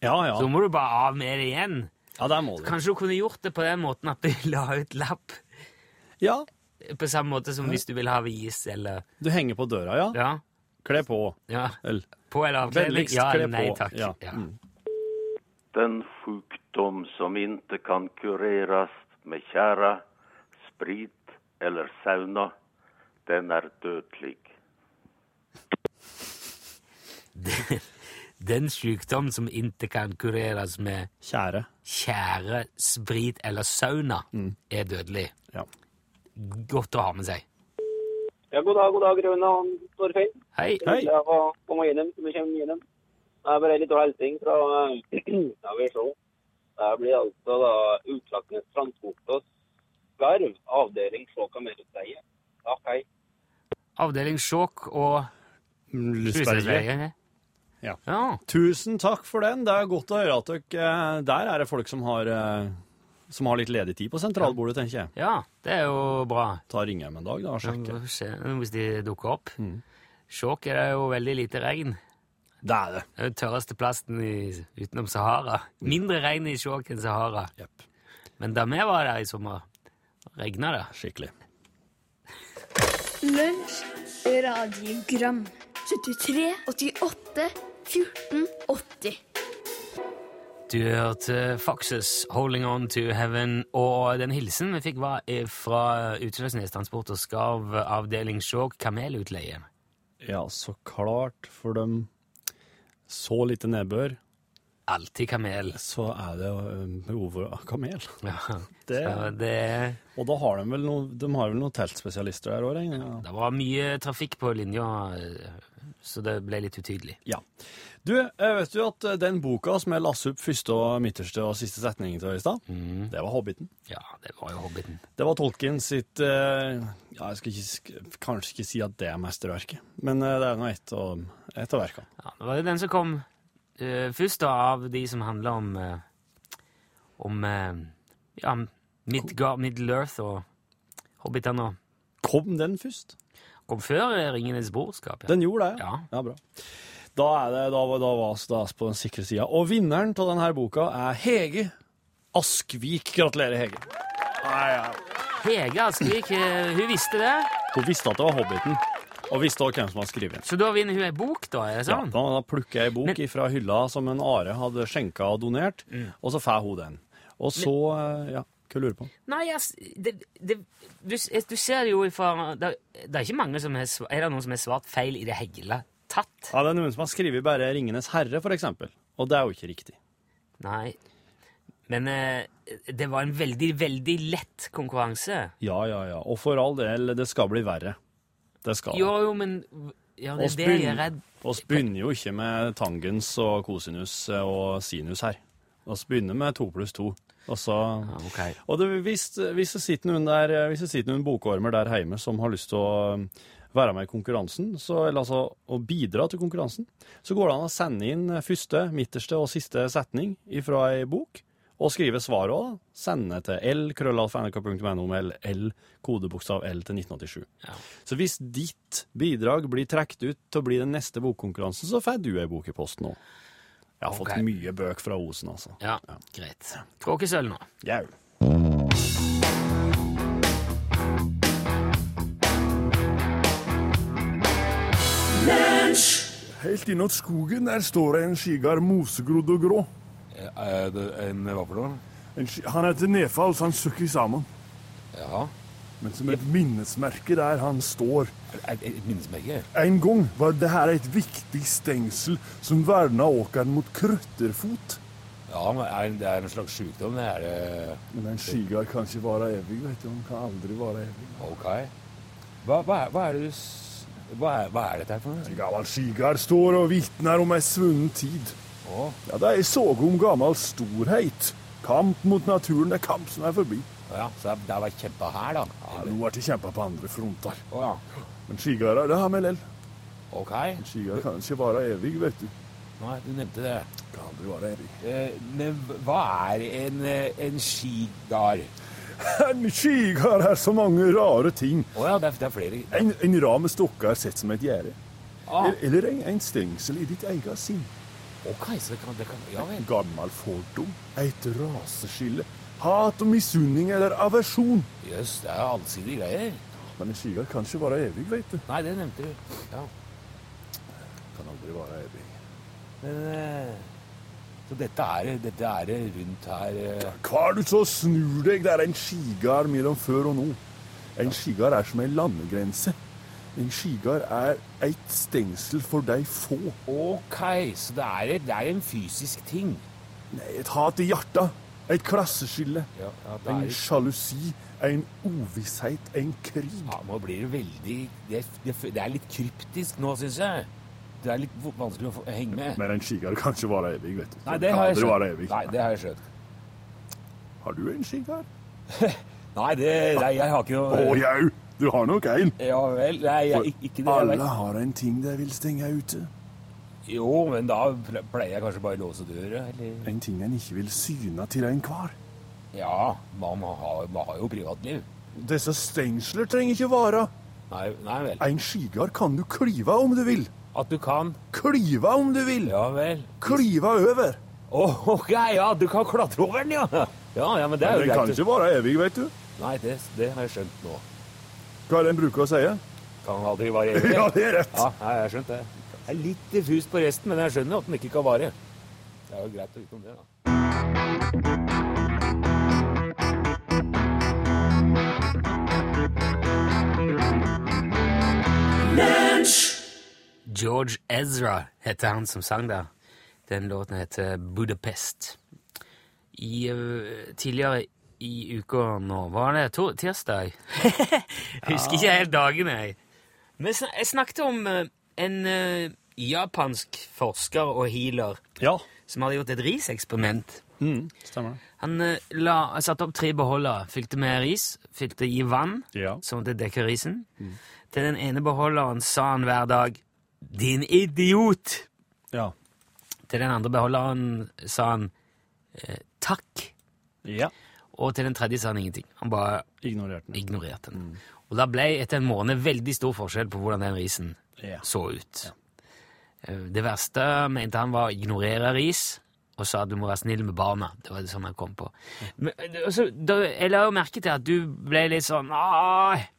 Speaker 3: Ja, ja.
Speaker 2: Så må du bare av med det igjen.
Speaker 3: Ja, der må du.
Speaker 2: Kanskje du kunne gjort det på den måten at du *laughs* la ut lapp.
Speaker 3: Ja,
Speaker 2: På samme måte som hvis du vil ha vis eller
Speaker 3: du henger på døra, ja.
Speaker 2: Ja.
Speaker 3: Kle på.
Speaker 2: ja.
Speaker 3: Eller
Speaker 2: På eller avkledning.
Speaker 3: vennligst
Speaker 2: Ja,
Speaker 3: kle på.
Speaker 2: nei takk.
Speaker 3: Ja.
Speaker 2: Ja.
Speaker 3: Mm.
Speaker 1: Den sjukdom som inte kan kureras med tjära, sprit eller sauna, den är dödlig.
Speaker 2: Den sykdom som ikke kan kureres med
Speaker 3: Kjære.
Speaker 2: tjære, sprit eller sauna er dødelig.
Speaker 3: Ja.
Speaker 2: Godt å ha med seg.
Speaker 11: Ja, god dag, god dag, Rune og Torfinn.
Speaker 2: Hei.
Speaker 3: Hei.
Speaker 11: Jeg var på meg innom, som jeg kommer innom. Det er bare litt dårlig hilsing fra *clears throat* Ja, vi ser. Det blir altså da Utslaktnes transport og skarv, avdeling Sjåka Merutseie. Takk, hei.
Speaker 2: Avdeling Sjåk og
Speaker 3: Lysberget.
Speaker 2: Husnesberget.
Speaker 3: Ja.
Speaker 2: ja.
Speaker 3: Tusen takk for den. Det er godt å høre at dere eh, Der er det folk som har, eh, som har litt ledig tid på sentralbordet, tenker jeg.
Speaker 2: Ja, det er jo bra.
Speaker 3: Ta og ringe dem en dag, da, og sjekke.
Speaker 2: Vi får se Hvis de dukker opp. Sjåk er det jo veldig lite regn.
Speaker 3: Det er det.
Speaker 2: Det er jo tørreste plassen i, utenom Sahara. Mindre regn i Sjåk enn Sahara.
Speaker 3: Jepp.
Speaker 2: Men da vi var der i sommer, regna det.
Speaker 3: Skikkelig.
Speaker 6: Lunsj, radiogram 73, 88, 14, 80
Speaker 2: Du hørte Foxes 'Holding On To Heaven', og den hilsen vi fikk, var fra Utslagsnes Transport og Skarv avdeling Skjåk kamelutleie.
Speaker 3: Ja, så klart, for dem så lite nedbør,
Speaker 2: Alltid kamel.
Speaker 3: så er det eh, behov for kamel.
Speaker 2: *laughs* Ja,
Speaker 3: Det-
Speaker 2: Så det,
Speaker 3: Og da har de vel, noe, de har vel noen teltspesialister der òg, regner jeg med?
Speaker 2: det var mye trafikk på linja, så det ble litt utydelig.
Speaker 3: Ja. Du, eh, vet du at eh, den boka som jeg las opp første og midterste og siste setning til i stad,
Speaker 2: Mm.
Speaker 3: det var Hobbiten.
Speaker 2: Ja, det var jo Hobbiten.
Speaker 3: Det var Tolkien sitt eh, Ja, jeg skal ikke, sk- kanskje ikke si at det er mesterverket, men eh, det er nå et av et av verkene.
Speaker 2: Ja, det var jo den som kom eh, først, da, av de som handla om eh, Om eh, ja, Midgar, Middle-earth og Hobbitene. og-
Speaker 3: Kom den først?
Speaker 2: Kom før eh, Ringenes brorskap. Ja.
Speaker 3: Den gjorde det,
Speaker 2: Ja.
Speaker 3: ja bra. Da, er det, da, var- da var vi da er vi på den sikre sida. Og vinneren av denne boka er Hege Askvik. Gratulerer, Hege. Nei, ja.
Speaker 2: Hege Askvik, eh, hun visste det.
Speaker 3: Hun visste at det var Hobbiten, og visste også hvem som hadde skrevet den.
Speaker 2: Så da vinner hun ei bok, da? er det
Speaker 3: Ja,
Speaker 2: sånn?
Speaker 3: da, da plukker jeg ei bok fra hylla som en Are hadde skjenka og donert, og så får hun den. Og så eh, Ja, hva lurer du på?
Speaker 2: Nei, ass, det, det, du, s- du ser det jo ifra det, det er ikke mange som har sva- Er det noen som har svart feil i det hele tatt?
Speaker 3: Ja, Det er noen som har skrevet bare 'Ringenes herre', for eksempel. Og det er jo ikke riktig.
Speaker 2: Nei. Men eh, det var en veldig, veldig lett konkurranse.
Speaker 3: Ja, ja, ja. Og for all del, det skal bli verre. Det skal det.
Speaker 2: Jo, jo, men Ja, det
Speaker 3: oss
Speaker 2: er det jeg er
Speaker 3: begynner-
Speaker 2: redd
Speaker 3: oss begynner jo ikke med tangens og kosinus og sinus her. Vi begynner med to pluss to. Og, så, og det, hvis, hvis, det sitter noen der, hvis det sitter noen bokormer der hjemme som har lyst til å um, være med i konkurransen, så, eller altså å bidra til konkurransen, så går det an å sende inn første, midterste og siste setning fra ei bok, og skrive svaret òg. Send det til l-krøllalfa.nrk.no med l, kodebokstav l til 1987. Så hvis ditt bidrag blir trukket ut til å bli den neste bokkonkurransen, så får du ei bok i posten òg. Jeg har
Speaker 2: Ok.
Speaker 3: fått mye bøk fra Osen, altså.
Speaker 2: Ja, greit. Kråkesølv nå.
Speaker 3: Jau.
Speaker 1: Helt innåt skogen der står det en skigard mosegrodd og grå.
Speaker 11: Er det en hva for noe?
Speaker 1: En ski- han heter Nefall, så han søkker sammen.
Speaker 11: Ja.
Speaker 1: Men som et minnesmerke der han står.
Speaker 11: Et, et minnesmerke?
Speaker 1: En gang var det her et viktig stengsel som verna åkeren mot krøtterfot.
Speaker 11: Ja, men er, det er en slags sykdom, det er det.
Speaker 1: Men en skigard kan ikke være evig, vet du. Han kan aldri være evig.
Speaker 11: Ok. Hva, hva, er- hva er det du s- hva er, hva er dette her for noe?
Speaker 1: En gammel skigard står og vitner om ei svunnen tid. Ja, det er såg om gammel storhet. Kamp mot naturen, det er kamp som er forbi.
Speaker 11: Ja, så det har vært kjempa her, da?
Speaker 1: Ja, nå har de kjempa på andre fronter.
Speaker 11: Å ja.
Speaker 1: Men skigarder, det har vi lell.
Speaker 11: Ok.
Speaker 1: En skigard kan ikke vare evig, vet du.
Speaker 11: Nei, du nevnte det.
Speaker 1: Kan aldri vare evig.
Speaker 11: Eh, men hva er en, eh, en skigard?
Speaker 1: En skigard er så mange rare ting.
Speaker 11: Å ja, det er, det er flere.
Speaker 1: En, en rar med stokker sett som et gjerde.
Speaker 11: Ah.
Speaker 1: Eller- Eller en, en stengsel i ditt eget sinn.
Speaker 11: Ok, så det kan, det kan Ja
Speaker 1: En
Speaker 11: vel.
Speaker 1: gammel fordom. Et raseskille. Hat og misunning eller aversjon.
Speaker 11: Jøss, det er allsidige greier.
Speaker 1: Men en skigard kan ikke vare evig, vet du.
Speaker 11: Nei, det nevnte du. Ja.
Speaker 1: Kan aldri vare evig.
Speaker 11: Men eh, Så dette er, dette er rundt her eh,
Speaker 1: Hva er du så snur deg? Det er en skigard mellom før og nå. En skigard er som en landegrense. En skigard er et stengsel for de få.
Speaker 11: Ok, så det er, det er en fysisk ting.
Speaker 1: Nei, et hat i hjertet. Et klasseskille.
Speaker 11: Ja, ja, det
Speaker 1: En
Speaker 11: er-
Speaker 1: sjalusi. En ovisshet. En krig.
Speaker 11: Ja, nå blir det veldig Det, det, det er litt kryptisk nå, syns jeg. Det er litt v- vanskelig å få, henge med.
Speaker 1: Men en skigard kan ikke vare evig, vet du.
Speaker 11: Nei, det har jeg
Speaker 1: Aldri vare
Speaker 11: skjønt.
Speaker 1: evig.
Speaker 11: Nei, det har jeg skjønt.
Speaker 1: Har du en skigard?
Speaker 11: Nei, det, nei, jeg har ikke
Speaker 1: Å,
Speaker 11: noe
Speaker 1: jau! Du har nok en.
Speaker 11: Ja vel. Nei, jeg, ik- ikke det. jeg
Speaker 1: Alle
Speaker 11: vet.
Speaker 1: har en ting de vil stenge ute.
Speaker 11: Jo, men da ple- pleier jeg kanskje bare å låse døra, eller
Speaker 1: En ting en ikke vil syne til enhver.
Speaker 11: Ja, man har, man har jo privatliv.
Speaker 1: Disse stengsler trenger ikke vare.
Speaker 11: Nei, nei vel.
Speaker 1: En skigard kan du klyve om du vil.
Speaker 11: At du kan
Speaker 1: Klyve om du vil.
Speaker 11: Ja vel.
Speaker 1: Klyve over.
Speaker 11: Åh, ok, ja, du kan klatre over den, ja. Ja, ja, men det er
Speaker 1: Men
Speaker 11: jo
Speaker 1: den
Speaker 11: greit.
Speaker 1: kan ikke vare evig, vet du.
Speaker 11: Nei, det, det har jeg skjønt nå.
Speaker 1: Hva er det en bruker å si?
Speaker 11: Kan aldri vare evig.
Speaker 1: Ja, det er rett.
Speaker 11: Ja, nei, jeg har skjønt det. Det er litt diffust på resten, men jeg skjønner at den ikke kan vare. Det er jo greit å vite om det, da.
Speaker 2: George Ezra heter han som sang der. Den låten heter Budapest. I, eh, tidligere i uka nå Var det to, tirsdag? *laughs* Jeg husker ikke helt dagen, jeg. Men sn- jeg snakket om eh, en eh, japansk forsker og healer som hadde gjort et riseksperiment.
Speaker 3: Mm, stemmer det.
Speaker 2: Han eh, la, satte opp tre beholdere, fylte med ris, fylte i vann,
Speaker 3: Ja.
Speaker 2: sånn at det dekker risen. Til den ene beholderen sa han hver dag 'Din idiot'.
Speaker 3: Ja.
Speaker 2: Til den andre beholderen sa han eh, 'takk'.
Speaker 3: Ja.
Speaker 2: Og til den tredje sa han ingenting. Han bare
Speaker 3: Ignorerte den.
Speaker 2: ignorerte den. Og da ble etter en måned veldig stor forskjell på hvordan den risen
Speaker 3: Ja.
Speaker 2: så ut. Eh, Det verste mente han var å ignorere ris, og sa at du må være snill med barna. Det var det som jeg kom på. Men, eh, det- altså, da, jeg la jo merke til at du ble litt sånn «Ai!»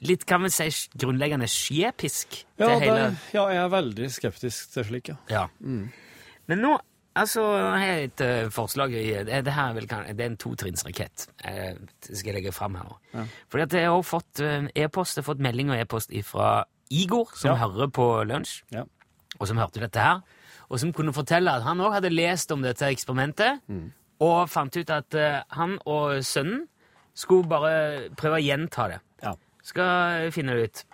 Speaker 2: Litt, kan vi si, sj- grunnleggende skjepisk
Speaker 3: Ja,
Speaker 2: til
Speaker 3: det, Mm.
Speaker 2: hele
Speaker 3: ja, jeg er veldig skeptisk til slik, ja.
Speaker 2: Ja. Men nå Altså, jeg har et eh, forslag i Det det her er vel kan- det er en totrinnsrakett. eh, det skal jeg legge fram her nå. Fordi at jeg har også fått eh, e-post, jeg har fått melding og e-post fra Igor, som hører på lunsj,
Speaker 3: Ja.
Speaker 2: og som hørte dette her, og som kunne fortelle at han òg hadde lest om dette eksperimentet, og fant ut at eh, han og sønnen skulle bare prøve å gjenta det.
Speaker 3: Ja.
Speaker 2: Skal finne det ut.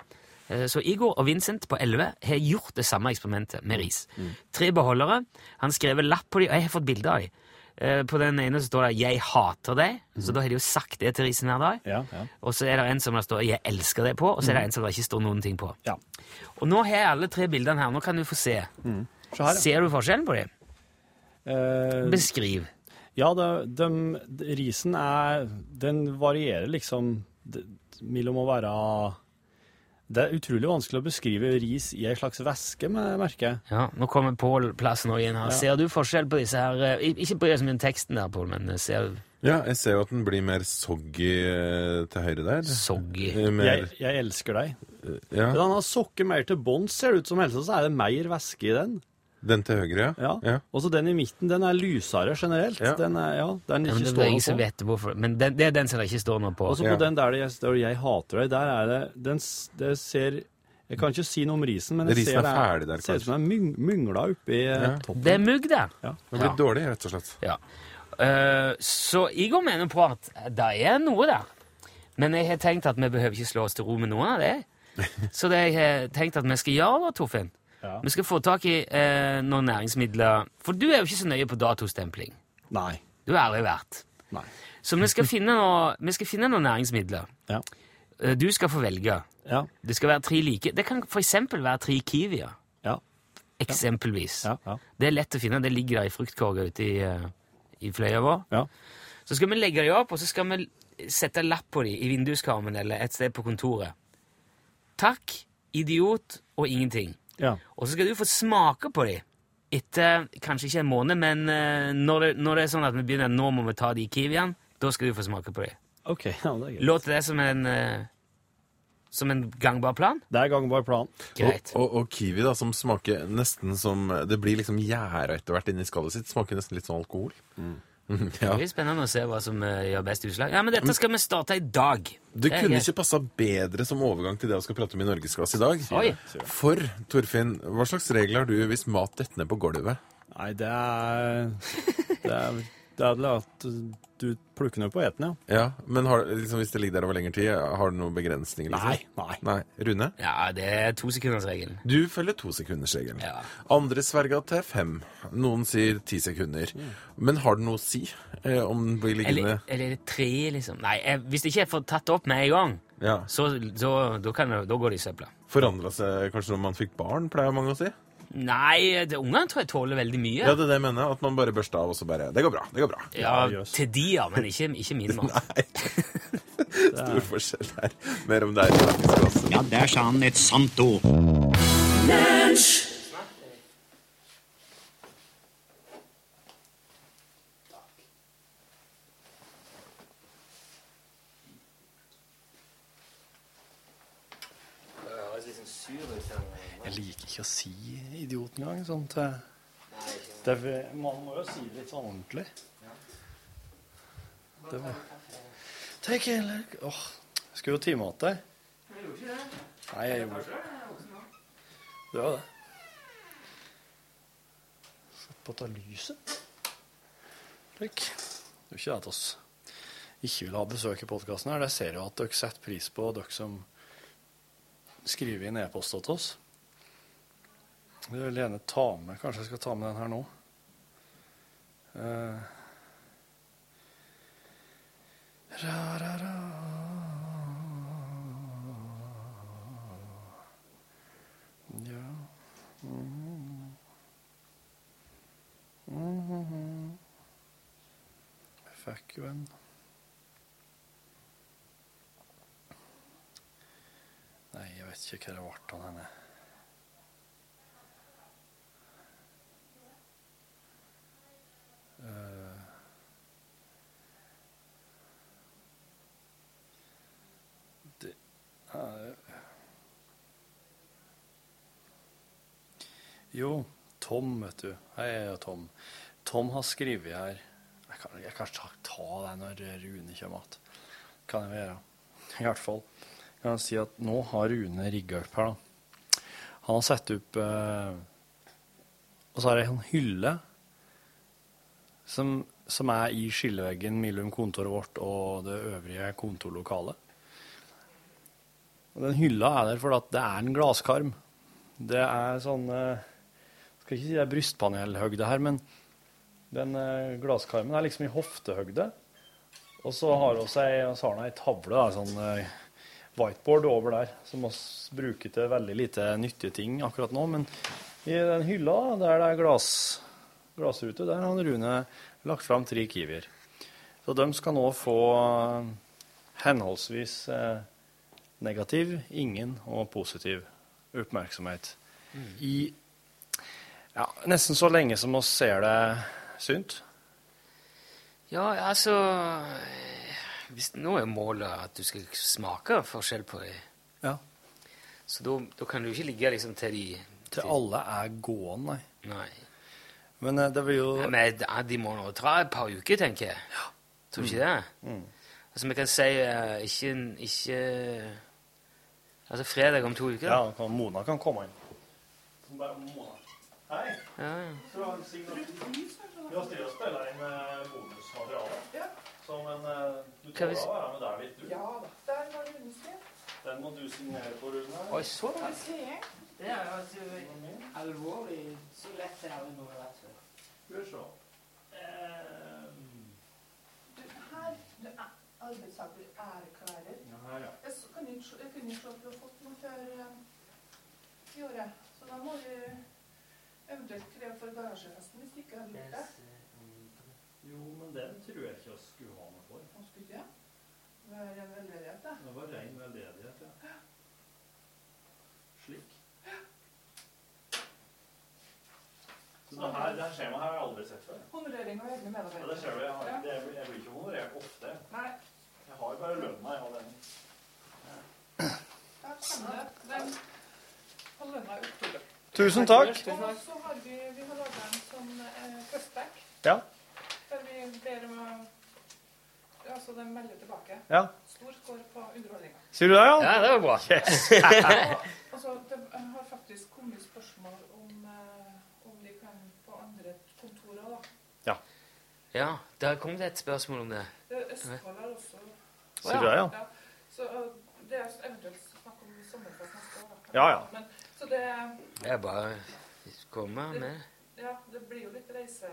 Speaker 2: Eh, Så Igor og Vincent på 11 har gjort det samme eksperimentet med ris. Tre beholdere. Han skrev lapp på dem, og jeg har fått bilder av dem. På den ene så står det 'Jeg hater deg', så da har de jo sagt det til risen hver dag. Og så er det en som det står 'Jeg elsker deg' på, og så er det
Speaker 3: Mhm.
Speaker 2: en som det ikke står noen ting på. Og nå har jeg alle tre bildene her. Nå kan du få se.
Speaker 3: Se her, ja. Eh, Mm.
Speaker 2: Ser du forskjellen på dem? Beskriv.
Speaker 3: Ja, det, dem- risen er Den varierer liksom det, mellom å være Det er utrolig vanskelig å beskrive ris i ei slags væske, mer- merker jeg.
Speaker 2: Ja, nå kommer Pål plassen òg inn her.
Speaker 3: Ja.
Speaker 2: Ser du forskjell på disse her eh, ik- Ikke bry deg så mye om teksten der, Pål, men eh, ser du
Speaker 9: Ja, jeg ser jo at den blir mer soggy eh, til høyre der.
Speaker 2: Soggy?
Speaker 9: Mer,
Speaker 3: Jeg, jeg elsker deg.
Speaker 9: ja.
Speaker 3: Den har sokket mer til bånds, ser det ut som, helst, så er det mer væske i den.
Speaker 9: Den til høyre, ja.
Speaker 3: Ja. Og så den i midten, den er lysere generelt. Den er, ja, den
Speaker 2: Ja,
Speaker 3: ikke sånn.
Speaker 2: men det er
Speaker 3: står
Speaker 2: ingen
Speaker 3: noe
Speaker 2: som
Speaker 3: på.
Speaker 2: vet hvorfor. Men den, det er den som det ikke står noe på.
Speaker 3: Og så på den der det står 'Jeg hater deg', der er det Den s- det ser Jeg kan ikke si noe om risen, men jeg
Speaker 9: Risen
Speaker 3: ser
Speaker 9: er
Speaker 3: det
Speaker 9: ferdig der,
Speaker 3: ser ut som den er myng- myngla oppi
Speaker 9: Ja.
Speaker 3: ja. eh, toppen.
Speaker 2: Det er mugg, det.
Speaker 3: Ja.
Speaker 9: Den blir dårlig, rett og slett.
Speaker 2: Ja. Eh, så Igor mener på at det er noe der. Men jeg har tenkt at vi behøver ikke slå oss til ro med noe av
Speaker 3: *laughs*
Speaker 2: det. Så det jeg har tenkt at vi skal gjøre da, Torfinn
Speaker 3: Ja.
Speaker 2: Vi skal få tak i eh, noen næringsmidler. For du er jo ikke så nøye på datostempling.
Speaker 3: Nei.
Speaker 2: Du er ærlig vært.
Speaker 3: Nei.
Speaker 2: Så vi skal finne, noe, vi skal finne noen næringsmidler. Eh, Du skal få velge.
Speaker 3: Ja.
Speaker 2: Det skal være tre like. Det kan for eksempel være tre kiwier.
Speaker 3: Ja.
Speaker 2: Eksempelvis.
Speaker 3: Ja, ja.
Speaker 2: Det er lett å finne. Det ligger der i fruktkorga ute i, eh, i fløya vår.
Speaker 3: Ja.
Speaker 2: Så skal vi legge dem opp, og så skal vi sette lapp på dem i vinduskarmen eller et sted på kontoret. Takk, idiot og ingenting.
Speaker 3: Ja.
Speaker 2: Og så skal du få smake på dem. Etter kanskje ikke en måned, men eh, når det, når det er sånn at vi begynner nå må vi ta de kiwiene, da skal du få smake på dem.
Speaker 3: OK. *laughs* Ja, det er greit.
Speaker 2: Låter det som en, eh, som en gangbar plan?
Speaker 3: Det er gangbar plan.
Speaker 2: Greit.
Speaker 9: Og, og, og kiwi, da, som smaker nesten som Det blir liksom gjæra etter hvert inni skallet sitt. Smaker nesten litt sånn alkohol. Mm,
Speaker 2: Det
Speaker 9: Ja.
Speaker 2: blir spennende å se hva som eh, gjør best utslag. Ja, men dette skal vi starte i dag.
Speaker 9: Det
Speaker 2: er
Speaker 9: kunne
Speaker 2: greit.
Speaker 9: ikke passa bedre som overgang til det vi skal prate om i Norgesklasse i dag.
Speaker 2: Oi.
Speaker 9: For, Torfinn, hva slags regler har du hvis mat detter ned på gulvet?
Speaker 3: Nei, det er Det er, det er vel at du plukker den opp og eter den, ja.
Speaker 9: Ja, Men har, liksom, hvis det ligger der over lengre tid, har du noen begrensninger? Liksom?
Speaker 3: Nei,
Speaker 9: nei. Rune?
Speaker 2: Ja, det er tosekundersregelen.
Speaker 9: Du følger tosekundersregelen. Ja. Andre sverger til fem. Noen sier ti sekunder. Mm. Men har det noe å si eh, om den blir liggende
Speaker 2: Eller, eller er det tre, liksom? Nei, jeg, hvis det ikke er for tatt det opp med en gang,
Speaker 9: ja.
Speaker 2: så, så da, kan, det- da går det i søpla.
Speaker 9: Forandra seg kanskje når man fikk barn, pleier mange å si?
Speaker 2: Nei, det, ungene tror jeg tåler veldig mye.
Speaker 9: Ja, det er det jeg mener. At man bare børster av, og så bare Det går bra. Det går bra.
Speaker 2: Ja, til de, ja, men ikke, ikke min
Speaker 9: *laughs*
Speaker 2: mat.
Speaker 9: Stor forskjell her. Mer om det her i Norgesklasse.
Speaker 12: Ja, der sa han et sant ord.
Speaker 3: Jeg liker ikke å si idiot engang. Sånn til det, er- Man må jo si det litt sånn ordentlig. Det var Take a look Åh, Skulle jo time igjen deg. Nei, jeg gjorde det. Det var det. Sett på dette lyset. Slik. Det er jo ikke det at oss ikke vil ha besøk i podkasten her. Det ser jeg jo at dere setter pris på, dere som skriver inn e-post til oss. Jeg vil gjerne ta med Kanskje jeg skal ta med den her nå. Eh. Ra, ra, ra. Ja. Mhm. Mhm. Jeg fikk jo en Nei, jeg vet ikke hva det ble av denne. Eh. Det er Jo, Tom, vet du. Hei, Tom. Tom har skrevet her Jeg kan, jeg kan ta ta det når Rune kommer igjen. Kan jeg jo gjøre. I hvert fall kan jeg si at nå har Rune rigga opp her, da. Han har satt opp eh, Og så er det en hylle som, som er i skilleveggen mellom kontoret vårt og det øvrige kontorlokalet. Og den hylla er der fordi at det er en glasskarm. Det er sånn eh, Skal ikke si det er brystpanelhøgde her, men den eh, glasskarmen er liksom i hoftehøgde. Og så har vi ei tavle, da, sånn eh, whiteboard over der, som vi bruker til veldig lite nyttige ting akkurat nå. Men i den hylla da, der det er glass, glassrute, der har Rune lagt fram tre Kiwier. Så de skal nå få eh, henholdsvis eh, negativ, ingen og positiv oppmerksomhet. I ja, nesten så lenge som vi ser det synt.
Speaker 2: Ja, altså eh, hvis, Nå er målet at du skal smake forskjell på dem.
Speaker 3: Ja.
Speaker 2: Så da da kan du ikke ligge liksom til de
Speaker 3: Til alle er gåen, nei.
Speaker 2: Nei.
Speaker 3: Men eh, det blir jo
Speaker 2: Nei, Men de- de må nå ta et par uker, tenker jeg. Tror du ikke det?
Speaker 3: Mm.
Speaker 2: Altså, vi kan si eh, ikke, ikke Altså fredag om to uker.
Speaker 3: Ja, da kan- Mona kan komme inn. Hei.
Speaker 2: Ja, ja.
Speaker 3: Fra Vi har stilt og spilla inn eh, bonusmateriale. Som en eh, Du
Speaker 2: Kan vi
Speaker 3: tåler
Speaker 2: s-
Speaker 3: å være med der litt, du.
Speaker 11: Ja da. Der var Rune sin.
Speaker 3: Den må du signere på, Rune.
Speaker 2: Oi, så da.
Speaker 11: Det er jo altså alvorlig så lett det er det nå, vet du.
Speaker 3: Skal vi se.
Speaker 11: Du, her du er arbeidstaker æreklærer.
Speaker 3: Ja, ja.
Speaker 11: Jeg så- kan ikke se- jeg kunne ikke se at du har fått noe før eh, i året. Så da må vi eventuelt kreve for garasjeresten hvis du ikke har gjort det.
Speaker 3: Jo, men den tror jeg ikke vi skulle ha noe for.
Speaker 11: Nå skulle ikke jeg. Det er en veldedighet, da.
Speaker 3: Det var ren veldedighet, ja. Slik. Så det her, det her skjemaet her har jeg aldri sett før.
Speaker 11: Honorering av egne
Speaker 3: Ja,
Speaker 11: medarbeidere.
Speaker 3: det ser du, jeg, har,
Speaker 11: Ja.
Speaker 3: det, jeg blir ikke honorert ofte.
Speaker 11: Nei.
Speaker 3: Jeg har jo bare lønna, jeg, og den.
Speaker 11: Da kan det. Den har lønna i oktober.
Speaker 3: Tusen takk.
Speaker 11: Og så har vi, vi har laget en sånn eh, flashback.
Speaker 3: Ja.
Speaker 11: Der vi ber om å ja, så de melder tilbake.
Speaker 3: Ja.
Speaker 11: Stor score på underholdninga.
Speaker 3: Sier du det, ja?
Speaker 2: Ja, det var bra.
Speaker 11: Altså, det har faktisk kommet spørsmål om, eh, om de kan på andre kontorer, da.
Speaker 2: ja, der kom det et spørsmål om det.
Speaker 11: Det er Østfold har også
Speaker 2: Sier du det, ja?
Speaker 11: Så eh, det er eventuelt snakk om sommerfest neste år. da.
Speaker 2: Ja, ja.
Speaker 11: Men, så det,
Speaker 2: Det er bare å komme med.
Speaker 11: ja, det blir jo litt reise...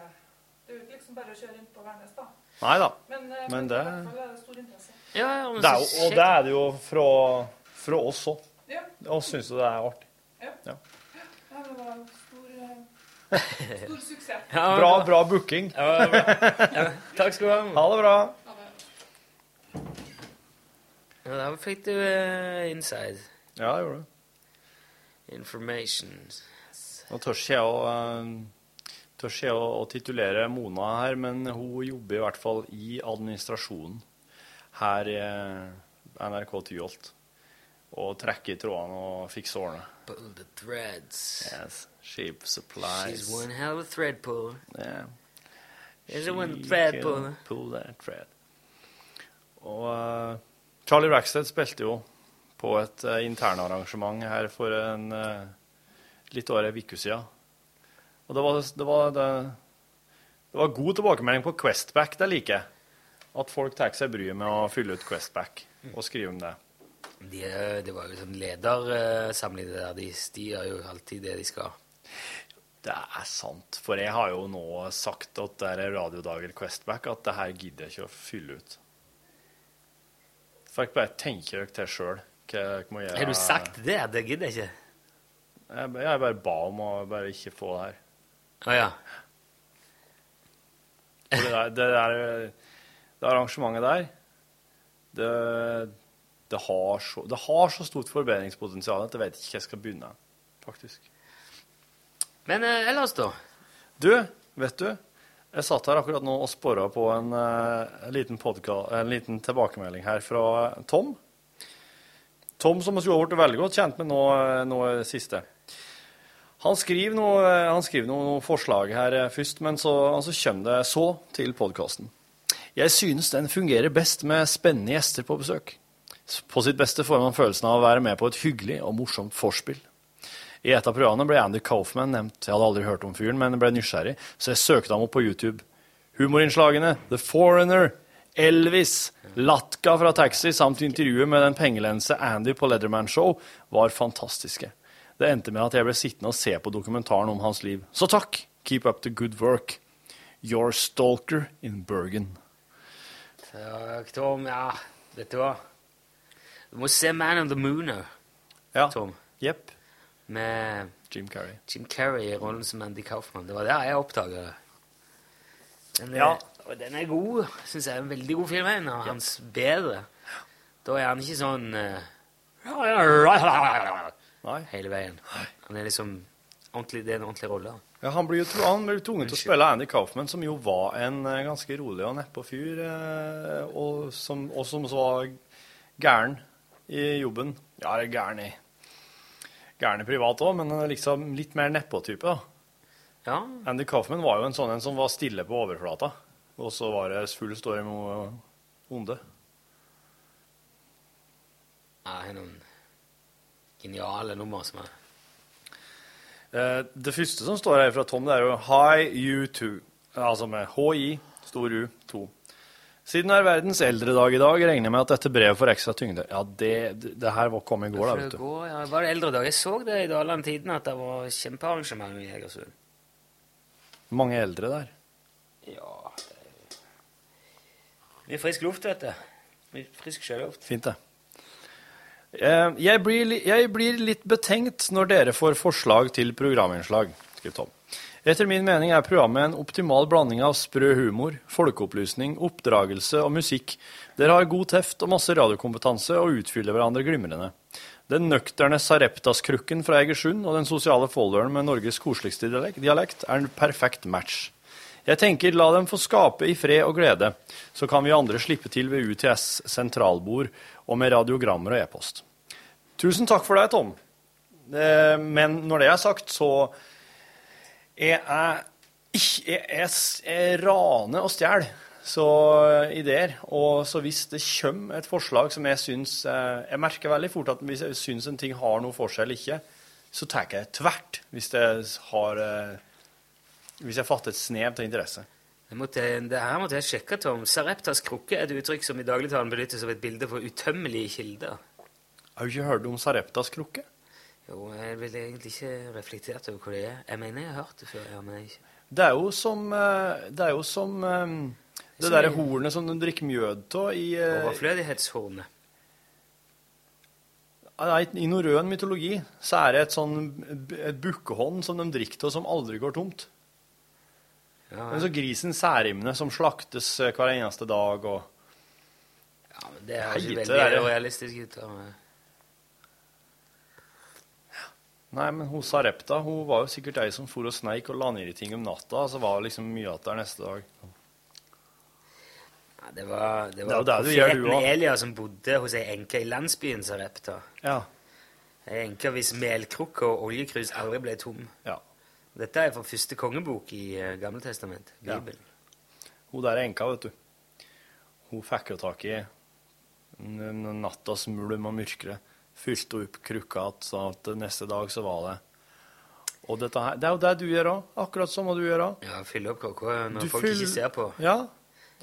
Speaker 11: Det er jo ikke liksom bare å kjøre inn på Værnes, da.
Speaker 3: Nei da.
Speaker 11: Men, eh,
Speaker 3: Men
Speaker 11: i
Speaker 3: det-
Speaker 11: hvert fall er det stor interesse.
Speaker 3: Det er jo, og det er det jo fra, fra oss òg.
Speaker 11: Ja.
Speaker 3: Og syns jo det er artig.
Speaker 11: Ja.
Speaker 3: Ja.
Speaker 11: Ja, det var en stor, eh, stor suksess.
Speaker 3: Bra, bra booking.
Speaker 2: Ja, det var bra. Ja, takk skal du ha.
Speaker 3: Ha det bra.
Speaker 2: Ja, der fikk du eh, inside.
Speaker 3: Ja, jeg gjorde det.
Speaker 2: Information.
Speaker 3: Nå tør ikke jeg å eh, tør ikke jeg å, å titulere Mona her, men hun jobber i hvert fall i administrasjonen her i eh, NRK Tyholt. Og trekker i trådene og fikser årene.
Speaker 2: Pull the threads.
Speaker 3: Yes. Sheep supplies.
Speaker 2: She's one hell of a thread puller.
Speaker 3: Yeah.
Speaker 2: Is it one
Speaker 3: She
Speaker 2: thread
Speaker 3: can
Speaker 2: puller?
Speaker 3: pull that thread. Og eh, Charlie Rackstead spilte jo på et eh, internarrangement her for en eh, litt over ei uke siden. Og det var, det, var, det, det var god tilbakemelding på Questback, det liker jeg. At folk tar seg bryet med å fylle ut Questback og skrive om det.
Speaker 2: De, eh, det var jo sånn ledersamling det der. De, de gjør jo alltid det de skal.
Speaker 3: Det er sant, for jeg har jo nå sagt at det er radiodager Questback, at det her gidder jeg ikke å fylle ut. Får jeg bare tenke dere til sjøl hva dere må gjøre.
Speaker 2: Har du sagt det? Det gidder jeg ikke.
Speaker 3: Jeg, jeg bare ba om å bare ikke få det her.
Speaker 2: Å ja.
Speaker 3: For det, der, det, der, det arrangementet der, det, det, har så, det har så stort forbedringspotensial at jeg vet ikke hvor jeg skal begynne, faktisk.
Speaker 2: Men eh, ellers, da?
Speaker 3: Du, vet du, jeg satt her akkurat nå og sporra på en, eh, en, liten podka- en liten tilbakemelding her fra Tom. Tom som vi jo har blitt veldig godt kjent med nå, eh, nå eh, siste. Han skriver noe, eh, han skriver noe, noe forslag her eh, først, men så altså, kommer det så til podkasten. Jeg synes den fungerer best med spennende gjester på besøk. På sitt beste får man følelsen av å være med på et hyggelig og morsomt vorspiel. I et av programmene ble Andy Kaufman nevnt. Jeg hadde aldri hørt om fyren, men ble nysgjerrig, så jeg søkte ham opp på YouTube. Humorinnslagene The Foreigner, Elvis, Latka fra Taxi samt intervjuet med den pengelense Andy på Leatherman Show var fantastiske. Det endte med at jeg ble sittende og se på dokumentaren om hans liv. Så takk! Keep up the good work. Your stalker in Bergen.
Speaker 2: Takk, Tom. Ja, vet du hva? Du må se Man on the Moon òg,
Speaker 3: ja.
Speaker 2: Tom.
Speaker 3: Jepp.
Speaker 2: Med
Speaker 3: Jim Carrey.
Speaker 2: Jim Carrey i rollen som Andy Kaufman. Det var der jeg oppdaga det. Den er,
Speaker 3: Ja.
Speaker 2: og den er god, syns jeg. er En veldig god film. En av hans bedre. Da er han ikke sånn eh, hele veien. Han er liksom ordentlig, Det er en ordentlig rolle.
Speaker 3: Ja, han blir jo tro- han blir tvunget til å spille Andy Kaufman, som jo var en eh, ganske rolig og nedpå fyr, eh, og som, og som så var gæren i jobben. Ja, eller gæren i Gæren i privat òg, men han er liksom litt mer nedpå-type, da. Andy Kaufman var jo en sånn en som var stille på overflata, og så var det full storm og onde.
Speaker 2: Ja, det er noen geniale nummer som er
Speaker 3: Eh, Det første som står her fra Tom, det er jo Hi U2, altså med HI, stor U2. Siden det er verdens eldredag i dag, regner jeg med at dette brevet får ekstra tyngde. Ja, det, det- det her var- kom i går, da, vet
Speaker 2: Det
Speaker 3: du.
Speaker 2: går, ja, det var det eldre dag. Jeg så det i Daland Tiden at det var kjempearrangement i Egersund.
Speaker 3: Mange eldre der.
Speaker 2: Ja, det er jo Mye frisk luft, vet du. Mye frisk sjøluft.
Speaker 3: Fint, det. Eh, Jeg blir, li- jeg blir litt betenkt når dere får forslag til programinnslag, skriver Tom. Etter min mening er programmet en optimal blanding av sprø humor, folkeopplysning, oppdragelse og musikk. Dere har god teft og masse radiokompetanse og utfyller hverandre glimrende. Den nøkterne Sareptas-krukken fra Egersund og den sosiale folderen med Norges koseligste dialek- dialekt er en perfekt match. Jeg tenker la dem få skape i fred og glede, så kan vi andre slippe til ved UTS sentralbord og med radiogrammer og e-post. Tusen takk for deg, Tom. Eh, Men når det er sagt, så er jeg ikk- jeg, jeg, s- jeg raner og stjeler så eh, ideer. Og så hvis det kommer et forslag som jeg syns eh, Jeg merker veldig fort at hvis jeg syns en ting har noe for seg eller ikke, så tar jeg tvert hvis det har eh, hvis jeg fatter et snev til interesse.
Speaker 2: Jeg måtte, det her måtte jeg sjekke, Tom. Sareptas krukke er et uttrykk som i dagligtalen benyttes som et bilde for utømmelige kilder.
Speaker 3: Har du ikke hørt om Sareptas krukke?
Speaker 2: Jo, jeg ville egentlig ikke reflektert over hva det er. Jeg mener jeg har hørt det før, ja, men jeg ikke.
Speaker 3: Det er jo som eh, Det er jo som eh, det
Speaker 2: Som
Speaker 3: derre
Speaker 2: i-
Speaker 3: hornet som du drikker mjød av i eh,
Speaker 2: Overflødighetshornet.
Speaker 3: Nei, I norrøn mytologi så er det et sånn et bukkehånd som de drikker av som aldri går tomt.
Speaker 2: Ja,
Speaker 3: Men så grisen særemne som slaktes eh, hver eneste dag og
Speaker 2: ja, men det er jo
Speaker 3: Heite,
Speaker 2: ikke
Speaker 3: det er
Speaker 2: veldig
Speaker 3: det.
Speaker 2: realistisk ut av meg.
Speaker 3: Nei, men hos Sarepta hun var jo sikkert ei som for og sneik og la ned i ting om natta, så var det liksom mye igjen der neste dag.
Speaker 2: Ja, det var, det
Speaker 3: Det er jo
Speaker 2: var
Speaker 3: det du gjør, du
Speaker 2: profeten
Speaker 3: også.
Speaker 2: Elia som bodde hos ei enke i landsbyen Sarepta.
Speaker 3: Ja.
Speaker 2: Ei enke hvis melkrukke og oljekrus aldri ble tom. Dette er fra første kongebok i uh, Gamletestamentet.
Speaker 3: Ja.
Speaker 2: Bibelen.
Speaker 3: Hun der er enka, vet du. Hun fikk jo tak i n- n- nattas mulm og mørkere. Fylte opp krukka igjen, sånn at neste dag så var det Og dette her, det er jo det du gjør òg. Akkurat som du gjør òg.
Speaker 2: Ja, fylle opp kaka når
Speaker 3: Du
Speaker 2: folk
Speaker 3: fyll-
Speaker 2: ikke ser på.
Speaker 3: Ja.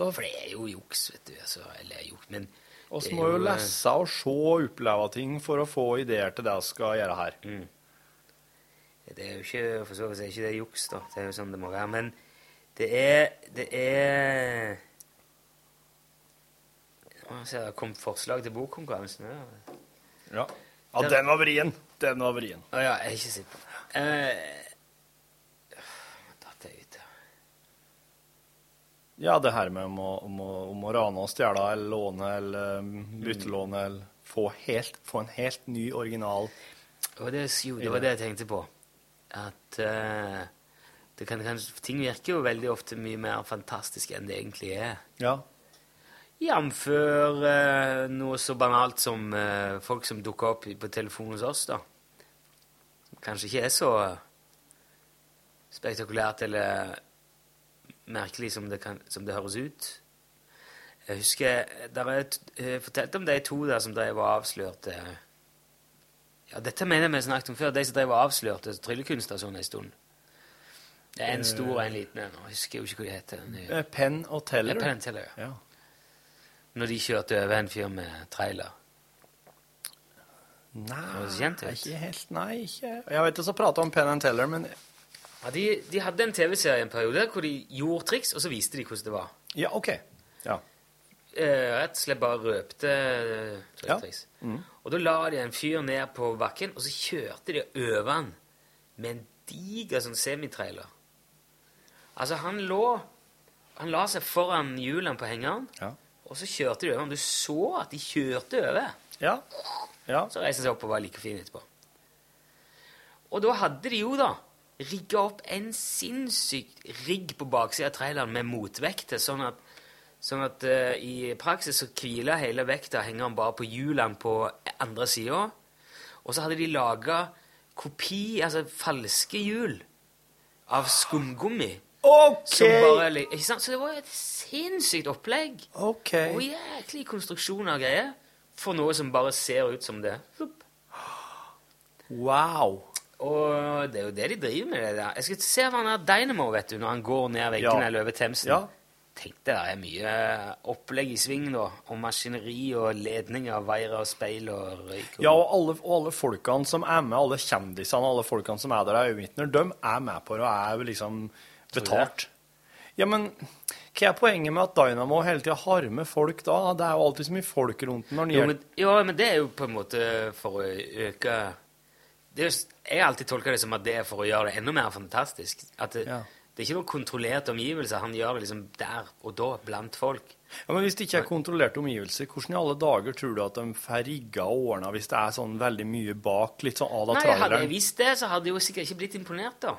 Speaker 2: For det er jo juks, vet du. Altså, eller juks, men
Speaker 3: Vi
Speaker 2: det er
Speaker 3: må jo
Speaker 2: eh,
Speaker 3: lese og se og oppleve ting for å få ideer til det vi skal gjøre her.
Speaker 2: Mm. Det er jo ikke for så vidt er ikke det juks, da. Det er jo sånn det må være. Men det er Det er Å, se, Det kom forslag til bokkonkurransen. Ja.
Speaker 3: Ja. Ja, den var vrien. Den var vrien.
Speaker 2: Å ja, jeg har ikke sett på den. Eh, datt jeg ut.
Speaker 3: Ja, det her med om å, om å, om å rane og stjele eller låne eller um, byttelåne eller få, helt, få en helt ny original
Speaker 2: Og det, jo, det var det jeg tenkte på. At eh, det kan, kan, ting virker jo veldig ofte mye mer fantastisk enn det egentlig er.
Speaker 3: Ja.
Speaker 2: Jamfør eh, noe så banalt som eh, folk som dukker opp i- på telefonen hos oss, da. Som kanskje ikke er så eh, spektakulært eller merkelig som det, kan, som det høres ut. Jeg husker der jeg t- eh, fortalte om de to der som drev og avslørte eh, Ja, dette mener jeg vi snakket om før. De som drev og avslørte tryllekunster sånn en stund. Det er en stor og en liten en. og Jeg husker jo ikke hva de heter.
Speaker 3: eh, penn og teller.
Speaker 2: Ja, penn og teller,
Speaker 3: ja.
Speaker 2: Når de kjørte over en fyr med trailer.
Speaker 3: Nei,
Speaker 2: Høres kjent ut.
Speaker 3: ikke helt, nei, ikke. Jeg vet ikke så prate om Penn and Teller, men
Speaker 2: Ja, de, de hadde en TV-serie en periode hvor de gjorde triks, og så viste de hvordan det var.
Speaker 3: Ja, OK. Ja.
Speaker 2: Eh, rett og slett bare røpte eh, sånne
Speaker 3: Ja.
Speaker 2: triks.
Speaker 3: Mm.
Speaker 2: Og da la de en fyr ned på bakken, og så kjørte de over han med en diger sånn semitrailer. Altså, han lå Han la seg foran hjulene på hengeren,
Speaker 3: Ja.
Speaker 2: og så kjørte de over han. Du så at de kjørte over.
Speaker 3: Ja.
Speaker 2: Så reiste han seg opp og var like fin etterpå. Og da hadde de jo, da, rigga opp en sinnssyk rigg på baksida av traileren med motvekter, sånn at, sånn at eh, i praksis så hviler hele vekta hengeren bare på hjulene på andre sida. Og så hadde de laga kopi, altså falske hjul, av skumgummi. Som bare, li- ikke sant? Så det var jo et sinnssykt opplegg. Og jæklig konstruksjon av greier. For noe som bare ser ut som det.
Speaker 3: Wow.
Speaker 2: Og det er jo det de driver med. det der. Jeg skal se hva han har Dynamo, vet du, når han går ned veggene
Speaker 3: Ja.
Speaker 2: eller over Themsen.
Speaker 3: Ja.
Speaker 2: Tenk det der er mye eh, opplegg i sving, da. Og maskineri og ledninger, vaier og speil og røyk.
Speaker 3: Ja, og alle, og alle folkene som er med, alle kjendisene, alle folkene som er der og er øyenvitner, de er med på det og er liksom betalt. Ja, men hva er poenget med at Dynamo hele tida har med folk da? Det er jo alltid så mye folk rundt den når den
Speaker 2: Jo,
Speaker 3: gjør-
Speaker 2: men, jo, men det er jo på en måte for å øke det er, jo s- Jeg har alltid tolka det som at det er for å gjøre det enda mer fantastisk. At det,
Speaker 3: Ja.
Speaker 2: det er ikke noen kontrollerte omgivelser. Han gjør det liksom der og da, blant folk.
Speaker 3: Ja, men Hvis det ikke er kontrollerte omgivelser, hvordan i alle dager tror du at de får rigga og ordna hvis det er sånn veldig mye bak, litt sånn à la
Speaker 2: Nei, Hadde jeg
Speaker 3: traileren?
Speaker 2: visst det, så hadde jeg jo sikkert ikke blitt imponert, da.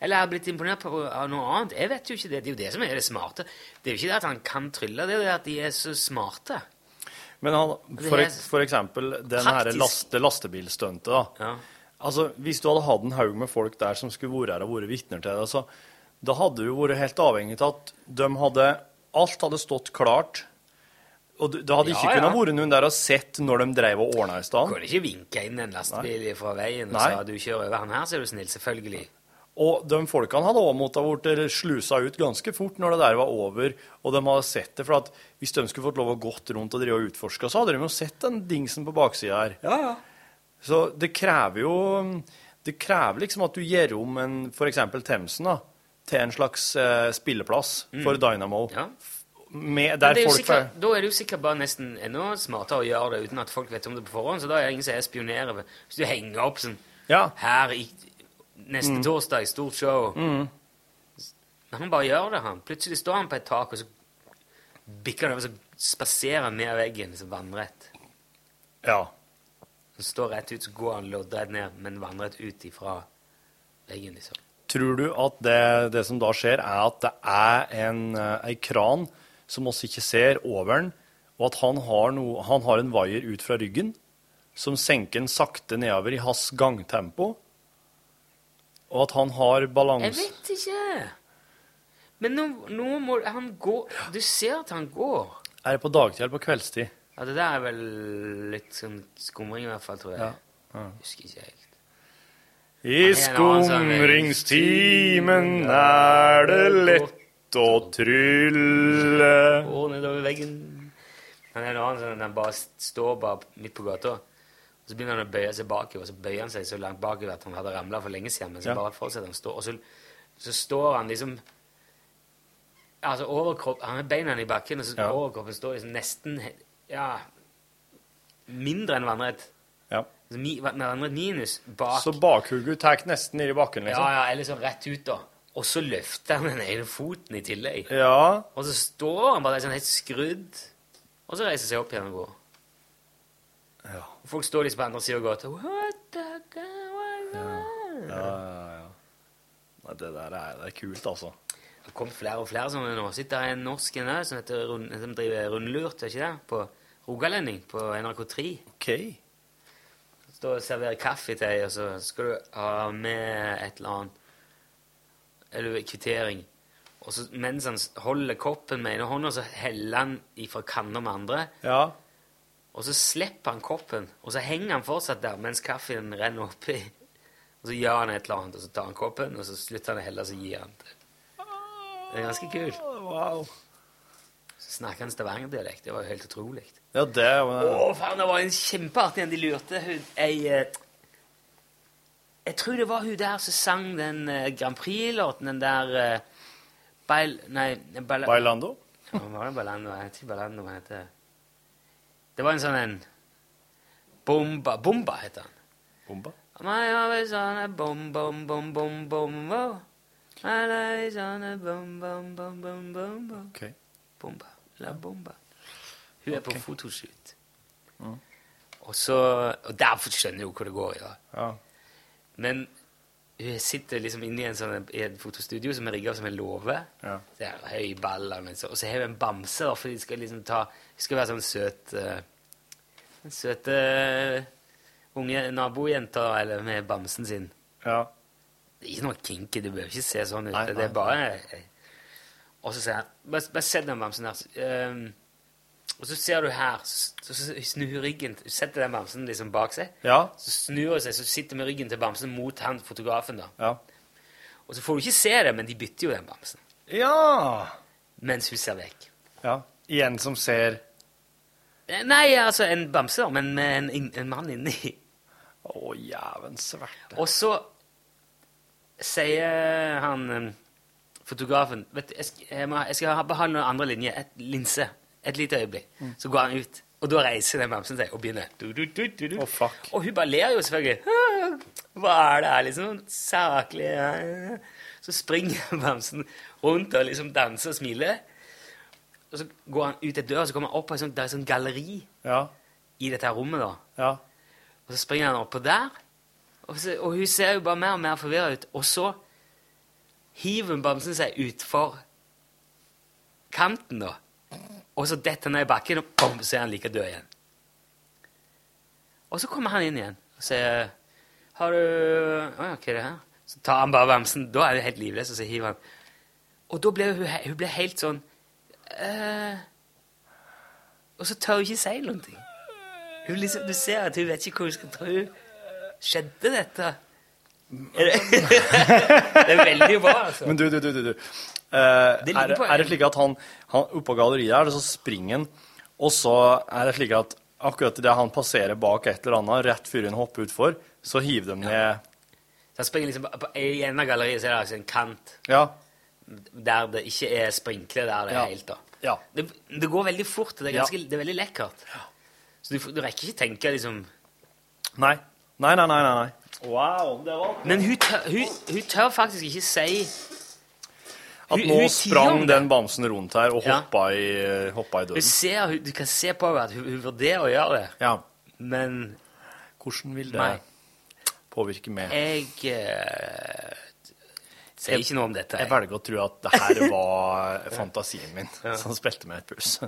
Speaker 2: Eller jeg hadde blitt imponert på, av noe annet. Jeg vet jo ikke det. Det er jo det som er det smarte. Det er jo ikke det at han kan trylle, det er jo det at de er så smarte.
Speaker 3: Men han,
Speaker 2: Det
Speaker 3: for,
Speaker 2: er
Speaker 3: ek- for eksempel den her
Speaker 2: praktisk.
Speaker 3: laste, lastebilstuntet, da. Altså, hvis du hadde hatt en haug med folk der som skulle vært her og vært vitner til det, så da hadde du vært helt avhengig av at de hadde Alt hadde stått klart. Og du- det hadde ikke
Speaker 2: Ja, ja.
Speaker 3: kunnet vært noen der og sett når de drev og ordna i stand.
Speaker 2: Kan ikke vinke inn en lastebil fra veien og
Speaker 3: Nei.
Speaker 2: sa du kjører over han her, så er du snill. Selvfølgelig.
Speaker 3: Og de folkene hadde også måttet ha vært slusa ut ganske fort når det der var over, og de hadde sett det, for at hvis de skulle fått lov å gått rundt og drive og utforske, så hadde de jo sett den dingsen på baksida her. Så det krever jo Det krever liksom at du gjør om en f.eks. Themsen da, til en slags eh, spilleplass for
Speaker 2: Mm.
Speaker 3: Dynamo. Med,
Speaker 2: Men
Speaker 3: der
Speaker 2: det er jo
Speaker 3: folk
Speaker 2: sikkert, da er det jo sikkert bare nesten enda smartere å gjøre det uten at folk vet om det på forhånd, så da er det ingen som er spionerer. Hvis du henger opp sånn her i, neste
Speaker 3: Mm.
Speaker 2: torsdag, stort show
Speaker 3: Mm.
Speaker 2: Men han bare gjør det, han. Plutselig står han på et tak, og så bikker han over, så spaserer han ned veggen som vannrett.
Speaker 3: Ja.
Speaker 2: Han står rett ut, så går han loddrett ned, men vannrett ut ifra veggen, liksom.
Speaker 3: Tror du at det, det som da skjer, er at det er en, eh, ei kran som oss ikke ser over den, og at han har, noe- han har en vaier ut fra ryggen som senker den sakte nedover i hans gangtempo, og at han har
Speaker 2: Jeg
Speaker 3: balanse
Speaker 2: vet ikke! Men nå, nå må han gå Du ser at han går.
Speaker 3: Er det på dagtid eller på kveldstid?
Speaker 2: Ja, det der er vel litt sånn skumring, i hvert fall, tror jeg.
Speaker 3: Ja.
Speaker 2: Husker ikke helt.
Speaker 3: I skumringstimen er det lett å trylle
Speaker 2: Går nedover veggen. Men det er en annen sånn at han bare st- står bare midt på gata, og så begynner han å bøye seg bakover, og så bøyer han seg så langt bakover at han hadde ramla for lenge siden, men så
Speaker 3: Ja.
Speaker 2: bare fortsetter han å stå, og så, så står han liksom Altså overkropp, Han har beina i bakken, og så overkroppen står liksom nesten he- Ja Mindre enn vannrett.
Speaker 3: Ja.
Speaker 2: Så mi- Vannrett minus bak.
Speaker 3: Så bakhugget tar nesten ned i bakken, liksom.
Speaker 2: Ja, ja, eller sånn rett ut, da. Og så løfter han den ene foten i tillegg.
Speaker 3: Ja.
Speaker 2: Og så står han bare der sånn helt skrudd, og så reiser han seg opp igjen og går.
Speaker 3: Ja.
Speaker 2: Og Folk står liksom på andre sida av gata. What the God, what the-
Speaker 3: Ja, ja, ja. Nei, det der er, det er kult, altså.
Speaker 2: Det kom flere og flere sånne nå. Sitter det en norsk en der som heter Rund, som driver Rundlurt, er ikke det? På Rogalending på NRK3.
Speaker 3: Ok.
Speaker 2: Står og serverer kaffe til deg, og så skal du ha med et eller annet Eller kvittering. Og så mens han s- holder koppen med ene hånda, så heller han ifra kanna med andre.
Speaker 3: Ja.
Speaker 2: Og så slipper han koppen, og så henger han fortsatt der mens kaffen renner oppi. Og så gjør han et eller annet, og så tar han koppen, og så slutter han å helle, og så gir han det. Det er ganske kult.
Speaker 3: Wow.
Speaker 2: Snakker han stavangerdialekt? Det var jo helt utrolig.
Speaker 3: Ja, det
Speaker 2: Å, faen, det var en kjempeartig en de lurte. Hun, jeg, eh, jeg tror det var hun der som sang den eh, Grand Prix-låten, den der eh, Bail... Nei Baila-
Speaker 3: Bailando?
Speaker 2: Ja, det var det Bailando? Jeg vet ikke Bailando hva heter. Det var en sånn en Bomba Bomba heter han.
Speaker 3: Bomba?
Speaker 2: My always on a sånn bom bom bom bom bom bo. My always on a sånn bom bom bom bom bom bom.
Speaker 3: Ok.
Speaker 2: Bomba. La bomba. Hun er på fotoshoot.
Speaker 3: Mm.
Speaker 2: Og så Og der skjønner hun hvor det går, ja.
Speaker 3: Ja.
Speaker 2: Men hun sitter liksom inne i en sånn, i et fotostudio som er rigga som en låve.
Speaker 3: Ja.
Speaker 2: Så er det Høy ball, og så- og så har hun en bamse, da, for de skal liksom ta Hun skal være sånn søt eh, En søt eh, unge nabojente, da, eller med bamsen sin.
Speaker 3: Ja.
Speaker 2: Det er ikke noe kinky, det behøver ikke se sånn ut.
Speaker 3: Nei,
Speaker 2: det
Speaker 3: nei,
Speaker 2: er bare Og så sier han Bare, bare sett den bamsen der. så, ehm, og så ser du her, så, så, så snur hun ryggen Hun setter den bamsen liksom bak seg.
Speaker 3: Ja.
Speaker 2: Så snur hun seg, så sitter med ryggen til bamsen mot han fotografen. da.
Speaker 3: Ja.
Speaker 2: Og så får du ikke se det, men de bytter jo den bamsen.
Speaker 3: Ja!
Speaker 2: Mens hun ser vekk.
Speaker 3: Ja. Igjen som ser
Speaker 2: Eh, Nei, altså en bamse, da, men med en, inn- en mann inni.
Speaker 3: Å, jæven sverte.
Speaker 2: Og så sier han eh, fotografen Vet du, jeg skal, jeg må, jeg skal ha- behandle noen andre linjer. Et linse. Et lite øyeblikk.
Speaker 3: Mm.
Speaker 2: Så går han ut. Og da reiser den bamsen seg og begynner. Du, du, du, du, du.
Speaker 3: Å, fuck.
Speaker 2: Og hun bare ler jo selvfølgelig. *laughs* Hva er det her, liksom? Saklig ja. Så springer *laughs* bamsen rundt og liksom danser og smiler. Og så går han ut et dør, og så kommer han opp på et sånt, det er et sånt galleri
Speaker 3: Ja.
Speaker 2: i dette her rommet. da.
Speaker 3: Ja.
Speaker 2: Og så springer han oppå der, og, så, og hun ser jo bare mer og mer forvirra ut. Og så hiver hun bamsen seg utfor kanten, da. Og så detter han ned i bakken, og bom, så er han like død igjen. Og så kommer han inn igjen og sier Har du Å ja, hva er det her? Så tar han bare bamsen. Da er det helt livløs, og så hiver han. Og da ble hun, he- hun ble helt sånn «Eh», Og så tør hun ikke si noen ting. Hun liksom, du ser at hun vet ikke hva hun skal tro. Skjedde dette? Er det, *laughs* det er veldig bra, altså.
Speaker 3: Men du, du, du, du. du. Eh,
Speaker 2: Det ligger
Speaker 3: er, det-
Speaker 2: på-
Speaker 3: er det slik at han, han oppå galleriet her, så springer han, og så er det slik at akkurat idet han passerer bak et eller annet, rett før han hopper utfor, så hiver de ned
Speaker 2: Så han springer liksom, på- I enden av galleriet så er det altså en kant
Speaker 3: Ja.
Speaker 2: der det ikke er sprinkler der det
Speaker 3: Ja.
Speaker 2: er helt. da.
Speaker 3: Ja.
Speaker 2: Det, det går veldig fort. og Det er,
Speaker 3: Ja.
Speaker 2: ganske, det er veldig lekkert. Så du, får- du rekker ikke tenke liksom
Speaker 3: Nei. Nei, nei, nei. nei, nei. Wow, det var
Speaker 2: Men hun tør, hun, hun tør faktisk ikke si
Speaker 3: At
Speaker 2: Hun-
Speaker 3: nå
Speaker 2: hun tier om
Speaker 3: sprang den bamsen rundt her og
Speaker 2: Ja.
Speaker 3: hoppa i, hoppa i
Speaker 2: hun
Speaker 3: døden.
Speaker 2: ser, hun, Du kan se på henne at hun, hun vurderer å gjøre det,
Speaker 3: Ja.
Speaker 2: men
Speaker 3: Hvordan vil det
Speaker 2: Nei.
Speaker 3: påvirke meg?
Speaker 2: jeg eh, sier ikke noe om dette.
Speaker 3: Jeg velger å tro at det
Speaker 2: *laughs*
Speaker 3: her var fantasien min som spilte med et puls.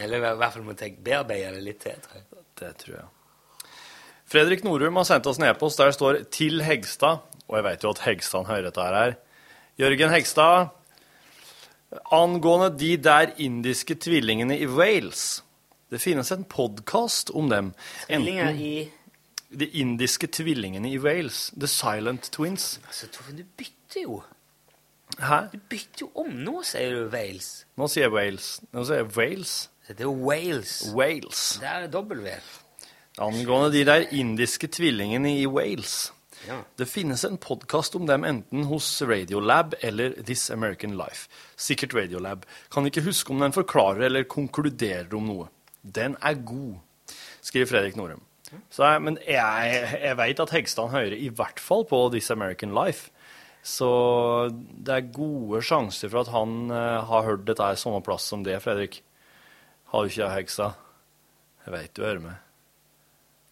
Speaker 2: Eller i hvert fall må jeg bearbeide det litt til. tror jeg.
Speaker 3: Det tror jeg. Fredrik Norum har sendt oss en e-post der det står 'Til Hegstad', og jeg vet jo at Hegstad hører dette her. Jørgen Hegstad, angående de der indiske tvillingene i Wales Det finnes en podkast om dem.
Speaker 2: Tvillinger
Speaker 3: Enten
Speaker 2: i
Speaker 3: De indiske tvillingene i Wales, The Silent Twins.
Speaker 2: Altså, Torfinn, du bytter jo.
Speaker 3: Hæ?
Speaker 2: Du bytter jo om. Nå sier du Wales.
Speaker 3: Nå sier jeg Wales. Nå sier jeg Wales.
Speaker 2: Det er Wales.
Speaker 3: Wales.
Speaker 2: Det er W.
Speaker 3: Angående de der indiske tvillingene i Wales.
Speaker 2: Ja.
Speaker 3: Det finnes en podkast om dem enten hos Radiolab eller This American Life. Sikkert Radiolab. Kan ikke huske om den forklarer eller konkluderer om noe. Den er god, skriver Fredrik Norum. Så jeg, men jeg, jeg veit at Hegstad hører i hvert fall på This American Life. Så det er gode sjanser for at han eh, har hørt dette her samme plass som det, Fredrik. Har jo ikke Hegstad. Jeg veit du hører meg.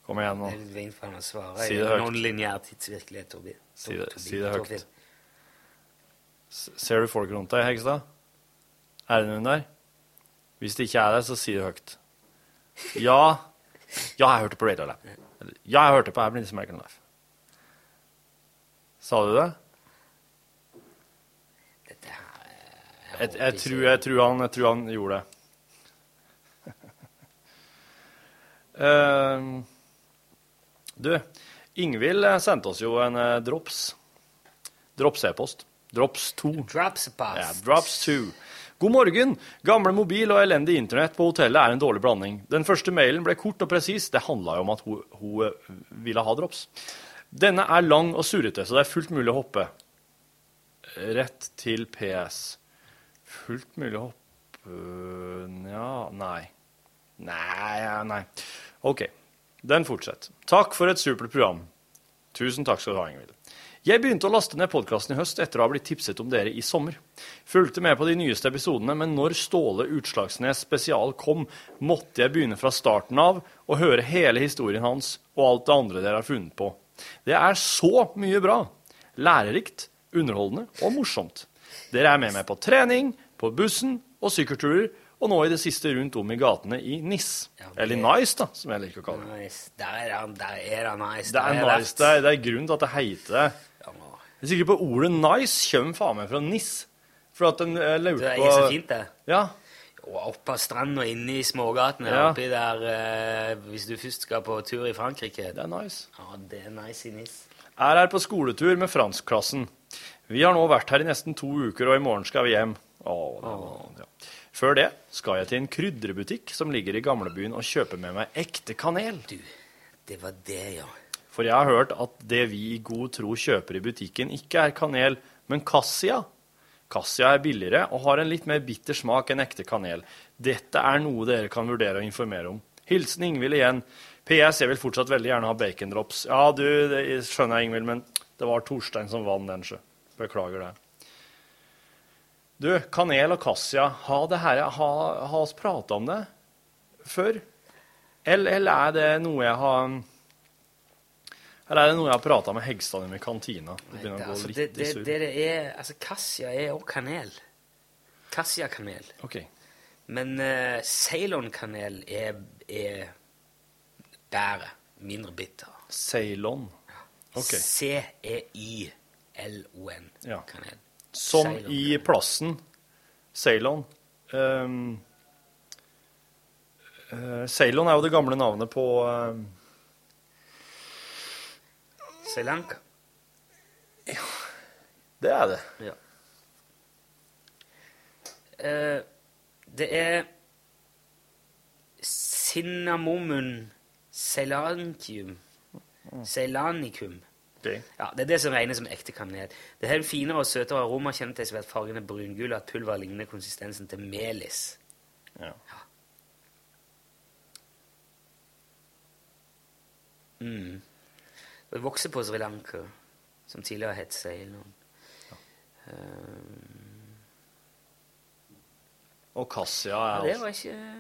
Speaker 3: Kom igjen nå.
Speaker 2: Det er litt vrient for han å svare.
Speaker 3: Si
Speaker 2: i
Speaker 3: det høyt.
Speaker 2: Non-lineær tidsvirkelighet, Torbi.
Speaker 3: Si det-
Speaker 2: Torbi-
Speaker 3: si det høyt.
Speaker 2: Torfinn.
Speaker 3: S- Ser du folk rundt deg, Hegstad? Er det noen der? Hvis det ikke er der, så si det høyt. Ja, ja jeg hørte på Radio Lab. Eller, Ja, jeg hørte på Ablins American Life. Sa du det? Jeg, jeg, tror, jeg, tror han, jeg tror han gjorde det. *laughs* Ehm, du, Ingvild eh, sendte oss jo en eh, drops. Drops e-post. Drops 2.
Speaker 2: Drops post.
Speaker 3: Ja, drops 2. God morgen! Gamle mobil og elendig internett på hotellet er en dårlig blanding. Den første mailen ble kort og presis. Det handla jo om at hun, hun eh, ville ha drops. Denne er lang og surrete, så det er fullt mulig å hoppe. Rett til PS. Fullt mulig å hoppe Nja, nei. Nei, ja, nei. OK. Den fortsetter. Takk for et supert program. Tusen takk skal du ha, Ingvild. Jeg begynte å laste ned podkasten i høst etter å ha blitt tipset om dere i sommer. Fulgte med på de nyeste episodene, men når Ståle Utslagsnes spesial kom, måtte jeg begynne fra starten av og høre hele historien hans og alt det andre dere har funnet på. Det er så mye bra! Lærerikt, underholdende og morsomt. Dere er med meg på trening, på bussen og sykkelturer, og nå i det siste rundt om i gatene i NIS. Eller Nice, da, som jeg liker å kalle det.
Speaker 2: Nice. Der er han, der er han nice.
Speaker 3: Det er
Speaker 2: Der
Speaker 3: nice, det er, det er grunnen til at det heter det. Jeg er sikker på ordet nice kommer faen meg fra niss. For at den eh, laut
Speaker 2: Du, det
Speaker 3: på-
Speaker 2: er så fint, det.
Speaker 3: Ja.
Speaker 2: Og opp av stranden og inne i smågatene
Speaker 3: Ja.
Speaker 2: oppi der eh, Hvis du først skal på tur i Frankrike. Det
Speaker 3: er nice.
Speaker 2: Ja, det er nice i Nis.
Speaker 3: Er her på skoletur med franskklassen. Vi har nå vært her i nesten to uker, og i morgen skal vi hjem. Åh, det var, ja. Før det skal jeg til en krydderbutikk som ligger i gamlebyen, og kjøpe med meg ekte kanel.
Speaker 2: Det var det, ja.
Speaker 3: For jeg har hørt at det vi i god tro kjøper i butikken, ikke er kanel, men cassia. Cassia er billigere og har en litt mer bitter smak enn ekte kanel. Dette er noe dere kan vurdere å informere om. Hilsen Ingvild igjen. PS, jeg vil fortsatt veldig gjerne ha bacondrops. Ja, du, det skjønner jeg, Ingvild, men det var Torstein som vant den, sjø. Beklager det. Du, kanel og cassia, ha det her, ha, ha oss prata om det før? Eller, eller er det noe jeg har Eller er det noe jeg har prata med Hegstad om i kantina? Det begynner å
Speaker 2: Altså,
Speaker 3: gå
Speaker 2: det,
Speaker 3: litt i
Speaker 2: det,
Speaker 3: surr.
Speaker 2: det det er Altså, kassia er også kanel. Kassiakanel. Men uh, Ceylon-kanel er, er bedre. Mindre bitter. E
Speaker 3: Ceylon. Ok.
Speaker 2: C-e-i-l-o-n.
Speaker 3: Ja.
Speaker 2: Kanel.
Speaker 3: Som
Speaker 2: Ceylon.
Speaker 3: i plassen Ceylon. Ehm, eh, Ceylon er jo det gamle navnet på ehm,
Speaker 2: Sri Lanka.
Speaker 3: Det er det.
Speaker 2: Ja. Eh, det er Cinnamomum ceylanicum. Ceylanicum. Ja, det er det som regnes som ekte kanel. Det har en finere og søtere aroma kjennetegn ved at fargen er brungul, og at pulveret ligner konsistensen til melis.
Speaker 3: Ja.
Speaker 2: Mm. Det vokser på Sri Lanka, som tidligere het Ceylon. Eh,
Speaker 3: Og Cassia
Speaker 2: Ja,
Speaker 3: er
Speaker 2: det var
Speaker 3: altså-
Speaker 2: ikke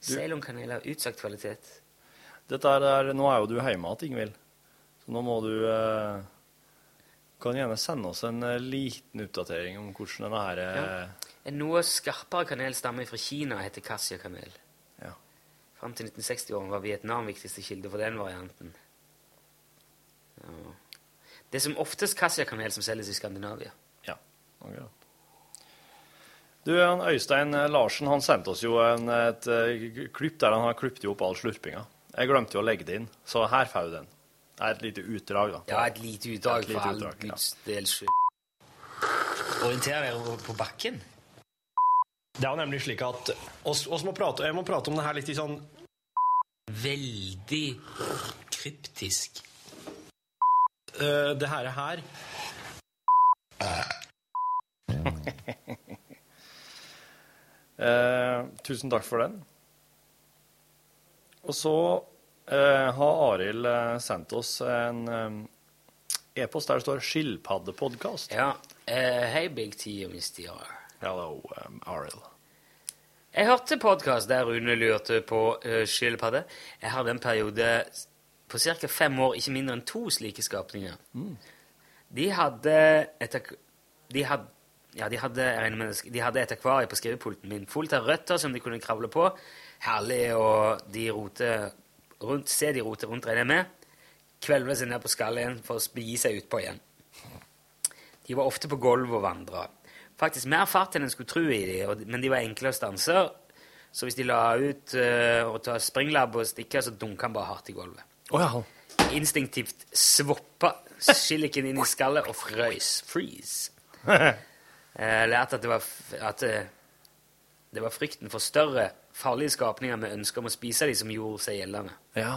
Speaker 2: Ceylon-kanel har utsagt kvalitet.
Speaker 3: Dette er, er- Nå er jo du hjemme igjen, Ingvild. Så nå må du eh, Kan gjerne sende oss en eh, liten oppdatering om hvordan denne her eh,
Speaker 2: En noe skarpere kanel stammer fra Kina og heter kassiakanel.
Speaker 3: Ja.
Speaker 2: Fram til 1960-årene var Vietnam viktigste kilde for den varianten. Ja. Det er som oftest kassiakanel som selges i Skandinavia.
Speaker 3: Ja. Ok, da. Du, han Øystein eh, Larsen han sendte oss jo en, et, eh, klipp der han har klippet jo opp all slurpinga. Jeg glemte jo å legge det inn, så her får du den. Det er et lite utdrag, da.
Speaker 2: Ja, et lite utdrag
Speaker 3: lite
Speaker 2: for all
Speaker 3: utdrag, ja.
Speaker 2: guds del skyld. Orienter dere på bakken.
Speaker 3: Det er jo nemlig slik at oss, oss må prate, Jeg må prate om det her litt i sånn
Speaker 2: Veldig kryptisk.
Speaker 3: eh, Det her er her *laughs* Eh, Tusen takk for den. Og så eh, har Arild eh, sendt oss en eh, e-post der det står 'skilpaddepodkast'.
Speaker 2: Ja. eh, Hei, Big T og Miss DR.
Speaker 3: Hello, um, Arild.
Speaker 2: Jeg hørte podkast der Rune lurte på uh, skilpadde. Jeg hadde en periode s- på ca. fem år, ikke mindre enn to slike skapninger. De hadde et ak- De hadde ja, de hadde, jeg regner med, det sk- de hadde et akvarie på skrivepulten min fullt av røtter som de kunne kravle på. Herlig, og de roter rundt. Se de roter rundt, regner jeg med. Kvelve seg ned på skallet igjen for å sp- gi seg utpå igjen. De var ofte på gulvet og vandra. Faktisk mer fart enn en skulle tro i de, og, men de var enkle å stanse.
Speaker 3: *laughs*
Speaker 2: Så hvis de la ut eh, og ta springlab og stikke, så dunka han bare hardt i gulvet.
Speaker 3: Å ja.
Speaker 2: instinktivt svoppa skilliken inn i skallet og frøys. Freeze. Jeg lærte at det var, f- at eh, det var frykten for større, farlige skapninger med ønske om å spise de som gjorde seg gjeldende.
Speaker 3: Ja.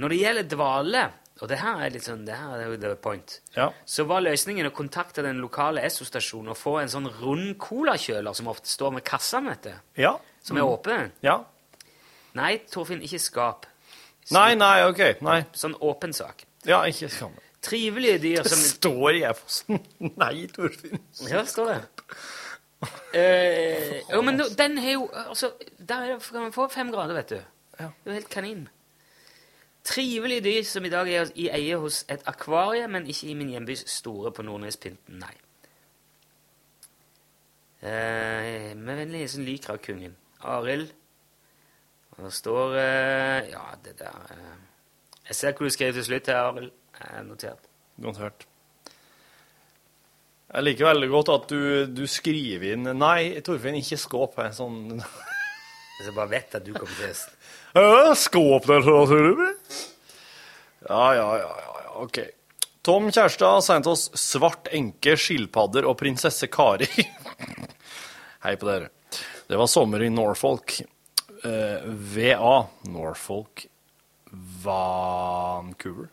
Speaker 2: Når det gjelder dvale, og det her er litt sånn, det her er jo the point,
Speaker 3: Ja.
Speaker 2: så var løsningen å kontakte den lokale Esso-stasjonen og få en sånn rund colakjøler som ofte står med kassa, vet du,
Speaker 3: Ja.
Speaker 2: som er åpen.
Speaker 3: Ja.
Speaker 2: Nei, Torfinn, ikke skap.
Speaker 3: Nei, nei, OK. Nei.
Speaker 2: Sånn åpen sak.
Speaker 3: Ja, ikke skam.
Speaker 2: Trivelige dyr
Speaker 3: Det
Speaker 2: som
Speaker 3: står i e-posten. *laughs* Nei, Torfinn.
Speaker 2: Ja, det står det. Eh, jo, men nå- den har jo altså, Der er det- kan man få fem grader, vet du. Det er jo helt kanin. Trivelige dyr som i dag er i eie hos et akvarie, men ikke i min hjembys store på Nordnespynten, nei. Eh, med vennlig hilsen Lykra-kongen. Arild. Og det står eh, Ja, det der eh. Jeg ser hva du skrev til slutt her, Arild. Eh, Notert.
Speaker 3: Notert. Jeg liker veldig godt at du, du skriver inn Nei, Torfinn, ikke skåp. Jeg, sånn. *laughs*
Speaker 2: jeg bare vet at du kommer til
Speaker 3: å Skåp der, så sier du. Ja, ja, ja, ja, ja, OK. Tom Kjærstad har sendt oss 'Svart enke, skilpadder og prinsesse Kari'. *laughs* Hei på dere. Det var sommer i Norfolk. Eh, VA. Norfolk Vancouver.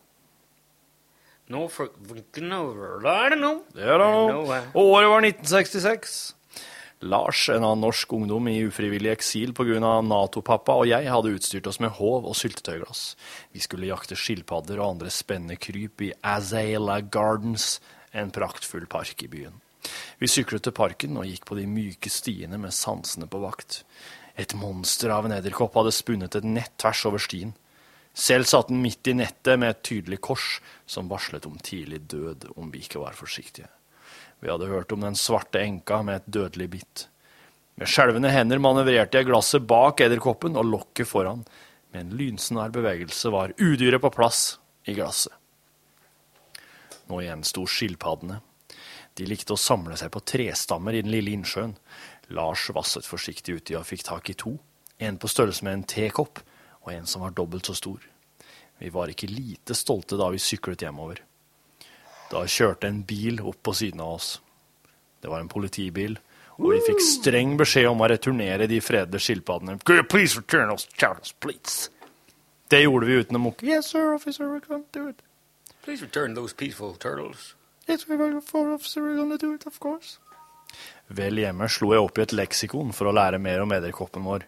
Speaker 2: Nå for Vancouver, da er det nå.
Speaker 3: Det er det nå. Og året var 1966. Lars, en annen norsk ungdom i ufrivillig eksil pga. Nato-pappa, og jeg hadde utstyrt oss med håv og syltetøyglass. Vi skulle jakte skilpadder og andre spennende kryp i Azalea Gardens, en praktfull park i byen. Vi syklet til parken og gikk på de myke stiene med sansene på vakt. Et monster av en edderkopp hadde spunnet et nett tvers over stien. Selv satt den midt i nettet med et tydelig kors som varslet om tidlig død om vi ikke var forsiktige. Vi hadde hørt om den svarte enka med et dødelig bitt. Med skjelvende hender manøvrerte jeg glasset bak edderkoppen og lokket foran. Med en lynsnær bevegelse var udyret på plass i glasset. Nå gjensto skilpaddene. De likte å samle seg på trestammer i den lille innsjøen. Lars vasset forsiktig uti og fikk tak i to. En på størrelse med en tekopp, og en som var dobbelt så stor. Vi var ikke lite stolte da vi syklet hjemover. Da kjørte en bil opp på siden av oss. Det var en politibil, og vi fikk streng beskjed om å returnere de fredede skilpaddene. Could you please return those turtles, please? Det gjorde vi uten å mukke. Yes, sir, officer, we can't do it.
Speaker 2: Please return those peaceful turtles.
Speaker 3: Yes, we will, for officer, we're gonna do it, of course. Vel hjemme slo jeg opp i et leksikon for å lære mer om edderkoppen vår.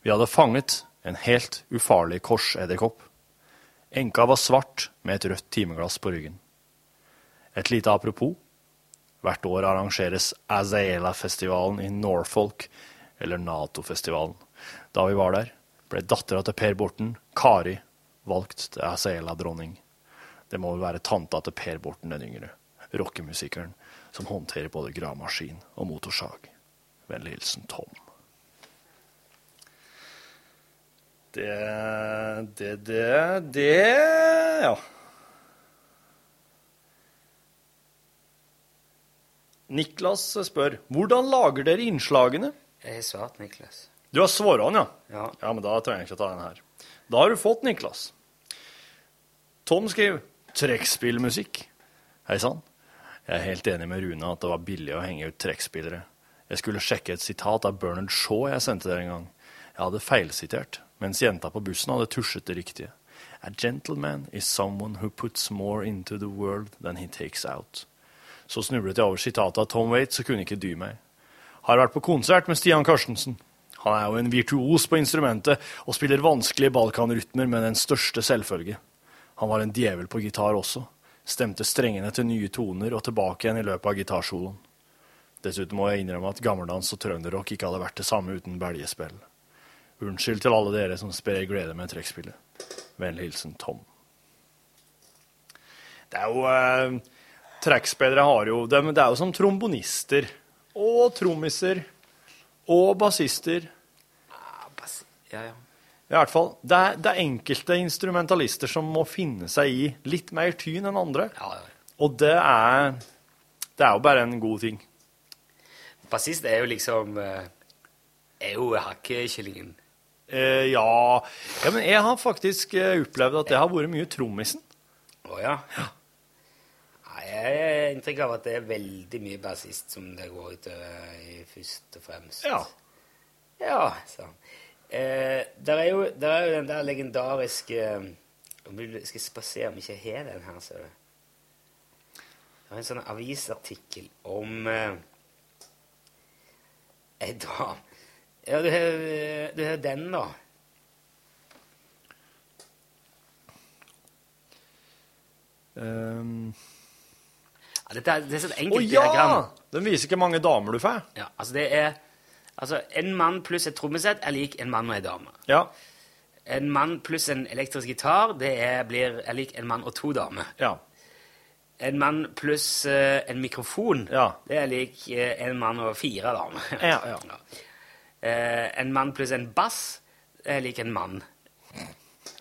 Speaker 3: Vi hadde fanget en helt ufarlig korsedderkopp. Enka var svart med et rødt timeglass på ryggen. Et lite apropos. Hvert år arrangeres Azaela-festivalen i Norfolk, eller Nato-festivalen. Da vi var der, ble dattera til Per Borten, Kari, valgt til Azaela-dronning. Det må vel være tanta til Per Borten den yngre, rockemusikeren som håndterer både gravemaskin og motorsag. Vennlig hilsen Tom. Det Det, det, det Ja. Niklas spør hvordan lager dere innslagene?
Speaker 2: Jeg har svart, Niklas.
Speaker 3: Du har svaret han, ja.
Speaker 2: ja?
Speaker 3: men da trenger jeg ikke å ta den her. Da har du fått Niklas. Tom skriver trekkspillmusikk. Hei sann. Jeg er helt enig med Rune at det var billig å henge ut trekkspillere. Jeg skulle sjekke et sitat av Bernard Shaw jeg sendte dere en gang. Jeg hadde feilsitert, mens jenta på bussen hadde tusjet det riktige. A gentleman is someone who puts more into the world than he takes out. Så snublet jeg over sitatet av Tom Waits og kunne ikke dy meg. Har vært på konsert med Stian Karstensen. Han er jo en virtuos på instrumentet og spiller vanskelige balkanrytmer med den største selvfølge. Han var en djevel på gitar også. Stemte strengene til nye toner og tilbake igjen i løpet av gitarsoloen. Dessuten må jeg innrømme at gammeldans og trønderrock ikke hadde vært det samme uten beljespill. Unnskyld til alle dere som sprer glede med trekkspillet. Vennlig hilsen Tom. Det er jo eh, Trekkspillere har jo dem- Det er jo som trombonister og trommiser og bassister.
Speaker 2: Ja, ja.
Speaker 3: I hvert fall. Det er, det er enkelte instrumentalister som må finne seg i litt mer tyn enn andre. Og det er, det er jo bare en god ting.
Speaker 2: Bassist er jo liksom eh, Er jo hakkekyllingen.
Speaker 3: Eh, ja. ja, men jeg har faktisk eh, opplevd at det har vært mye trommisen.
Speaker 2: Å ja? Nei, jeg har inntrykk av at det er veldig mye bassist som det går utover i først og fremst.
Speaker 3: Ja.
Speaker 2: Ja, sa han. Eh, der, er jo, der er jo den der legendariske eh, Om du skal spasere om jeg ikke har den her, ser du. Det var en sånn avisartikkel om eh, ei dame Ja, du har, du har den, da. Ehm,
Speaker 3: Um,
Speaker 2: Ja, dette er, det er sånn
Speaker 3: Å
Speaker 2: enkelt
Speaker 3: ja!
Speaker 2: diagram.
Speaker 3: Den viser hvor mange damer du får.
Speaker 2: Ja, altså det er Altså, en mann pluss et trommesett er lik en mann og en dame.
Speaker 3: Ja.
Speaker 2: En mann pluss en elektrisk gitar det er, blir, er lik en mann og to damer.
Speaker 3: Ja.
Speaker 2: En mann pluss eh, en mikrofon det er lik eh, en mann og fire damer.
Speaker 3: *laughs* Ja,
Speaker 2: Eh, en mann pluss en bass det er lik en mann.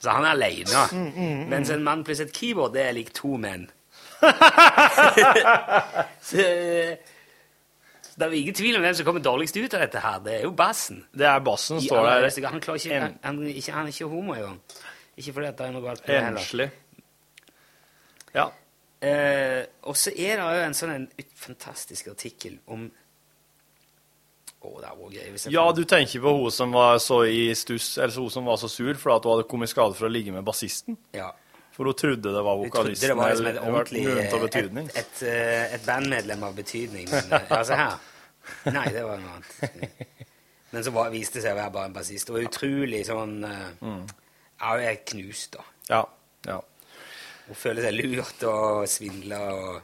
Speaker 2: Så han er aleine.
Speaker 3: Mm, mm, mm.
Speaker 2: Mens en mann pluss et keyboard det er lik to
Speaker 3: *laughs*
Speaker 2: menn. Så, eh, så det er jo ingen tvil om hvem som kommer dårligst ut av dette her. Det er jo bassen.
Speaker 3: Det er bassen
Speaker 2: I
Speaker 3: står
Speaker 2: aller
Speaker 3: der.
Speaker 2: høyeste grad. Han, klarer ikke,
Speaker 3: En-
Speaker 2: han, han, ikke, han er ikke homo, jo. Ikke fordi at det er noe galt med det heller.
Speaker 3: Enslig. Ja.
Speaker 2: Eh, og så er det jo en sånn en ut- fantastisk artikkel om Å, det er også gøy. hvis jeg
Speaker 3: Ja,
Speaker 2: får-
Speaker 3: du tenker på hun som var så i stuss, eller så hun som var så sur fordi at hun hadde kommet i skade for å ligge med bassisten.
Speaker 2: Ja.
Speaker 3: For hun trodde det var
Speaker 2: Jeg trodde
Speaker 3: vokalisten.
Speaker 2: det var liksom et
Speaker 3: eller- eller
Speaker 2: ordentlig
Speaker 3: noen av
Speaker 2: eh,
Speaker 3: betydning.
Speaker 2: et, et, eh, et bandmedlem av betydning. Men,
Speaker 3: *laughs*
Speaker 2: eh, altså her Nei, det var noe annet. Men så var, viste det seg å være bare en bassist. Og utrolig sånn eh,
Speaker 3: Mm.
Speaker 2: Ja, hun er knust, da.
Speaker 3: Ja, ja.
Speaker 2: Hun føler seg lurt og svindla og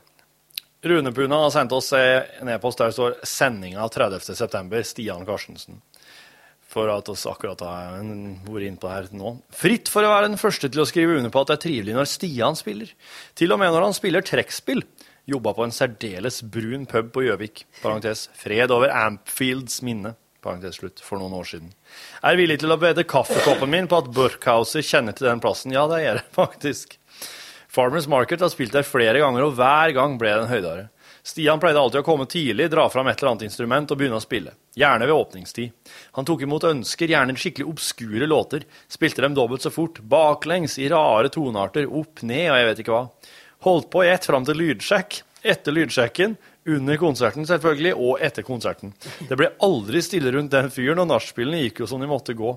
Speaker 3: Rune Puna har sendt oss en e-post der det står 'Sendinga 30. september', Stian Karstensen. For at oss akkurat har vært inne på det her nå. Fritt for å være den første til å skrive under på at det er trivelig når Stian spiller. Til og med når han spiller trekkspill. Jobba på en særdeles brun pub på Gjøvik. Parentes. Fred over Ampfields minne. Parentes slutt. For noen år siden. Er villig til å bede kaffekoppen min på at Burkhauser kjenner til den plassen. Ja, det gjør jeg *laughs* faktisk. Farmers Market har spilt der flere ganger, og hver gang ble den høydere. Stian pleide alltid å komme tidlig, dra fram et eller annet instrument og begynne å spille. Gjerne ved åpningstid. Han tok imot ønsker, gjerne skikkelig obskure låter. Spilte dem dobbelt så fort, baklengs, i rare tonearter, opp, ned og jeg vet ikke hva. Holdt på i ett fram til lydsjekk. Etter lydsjekken, under konserten selvfølgelig, og etter konserten. Det ble aldri stille rundt den fyren, og nachspielene gikk jo som de måtte gå.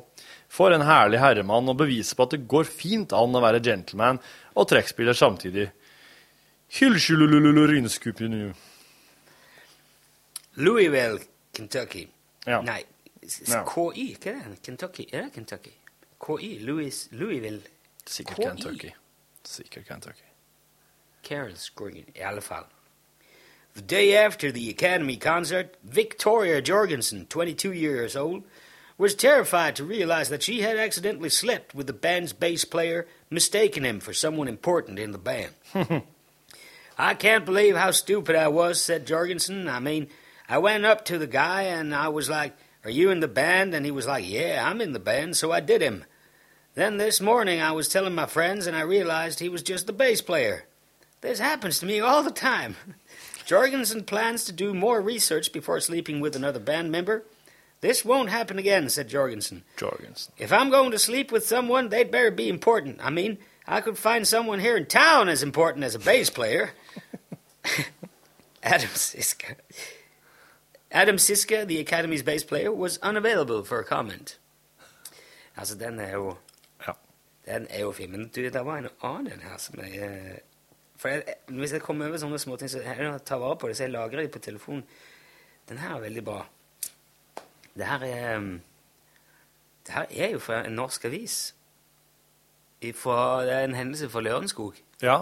Speaker 3: For en herlig herremann å bevise på at det går fint an å være gentleman og trekkspiller samtidig. Hylsjululululurinskupi
Speaker 2: Louisville, Kentucky.
Speaker 3: Ja.
Speaker 2: Nei, s- s-
Speaker 3: Ja.
Speaker 2: KY, hva er det? Kentucky? Er det Kentucky? KY, Louis, Louisville
Speaker 3: Sikkert
Speaker 2: KY.
Speaker 3: Kentucky. Sikkert Kentucky.
Speaker 2: Carol's Green, i alle fall. The day after the Academy concert, Victoria Jorgensen, 22 years old, was terrified to realize that she had accidentally slept with the band's bass player, mistaking him for someone important in the band. I can't believe how stupid I was, said Jorgensen. I mean, I went up to the guy and I was like, Are you in the band? And he was like, Yeah, I'm in the band, so I did him. Then this morning I was telling my friends and I realized he was just the bass player. This happens to me all the time. *laughs* Jorgensen plans to do more research before sleeping with another band member. This won't happen again, said Jorgensen.
Speaker 3: Jorgensen.
Speaker 2: If I'm going to sleep with someone, they'd better be important. I mean, I could find someone here in town as important as a bass player. *laughs* Adam Siska. Adam Siska, the Academy's bass player, was unavailable for comment. Altså, den er jo Den er jo fin. Men du, det var en annen her som jeg eh, For jeg, hvis jeg kommer over sånne småting, så jeg tar vare på det, så jeg lagrer det på telefonen. Den her er veldig bra. Det her er um, Det her er jo fra en norsk avis. Ifra, det er en hendelse fra Lørenskog.
Speaker 3: Ja.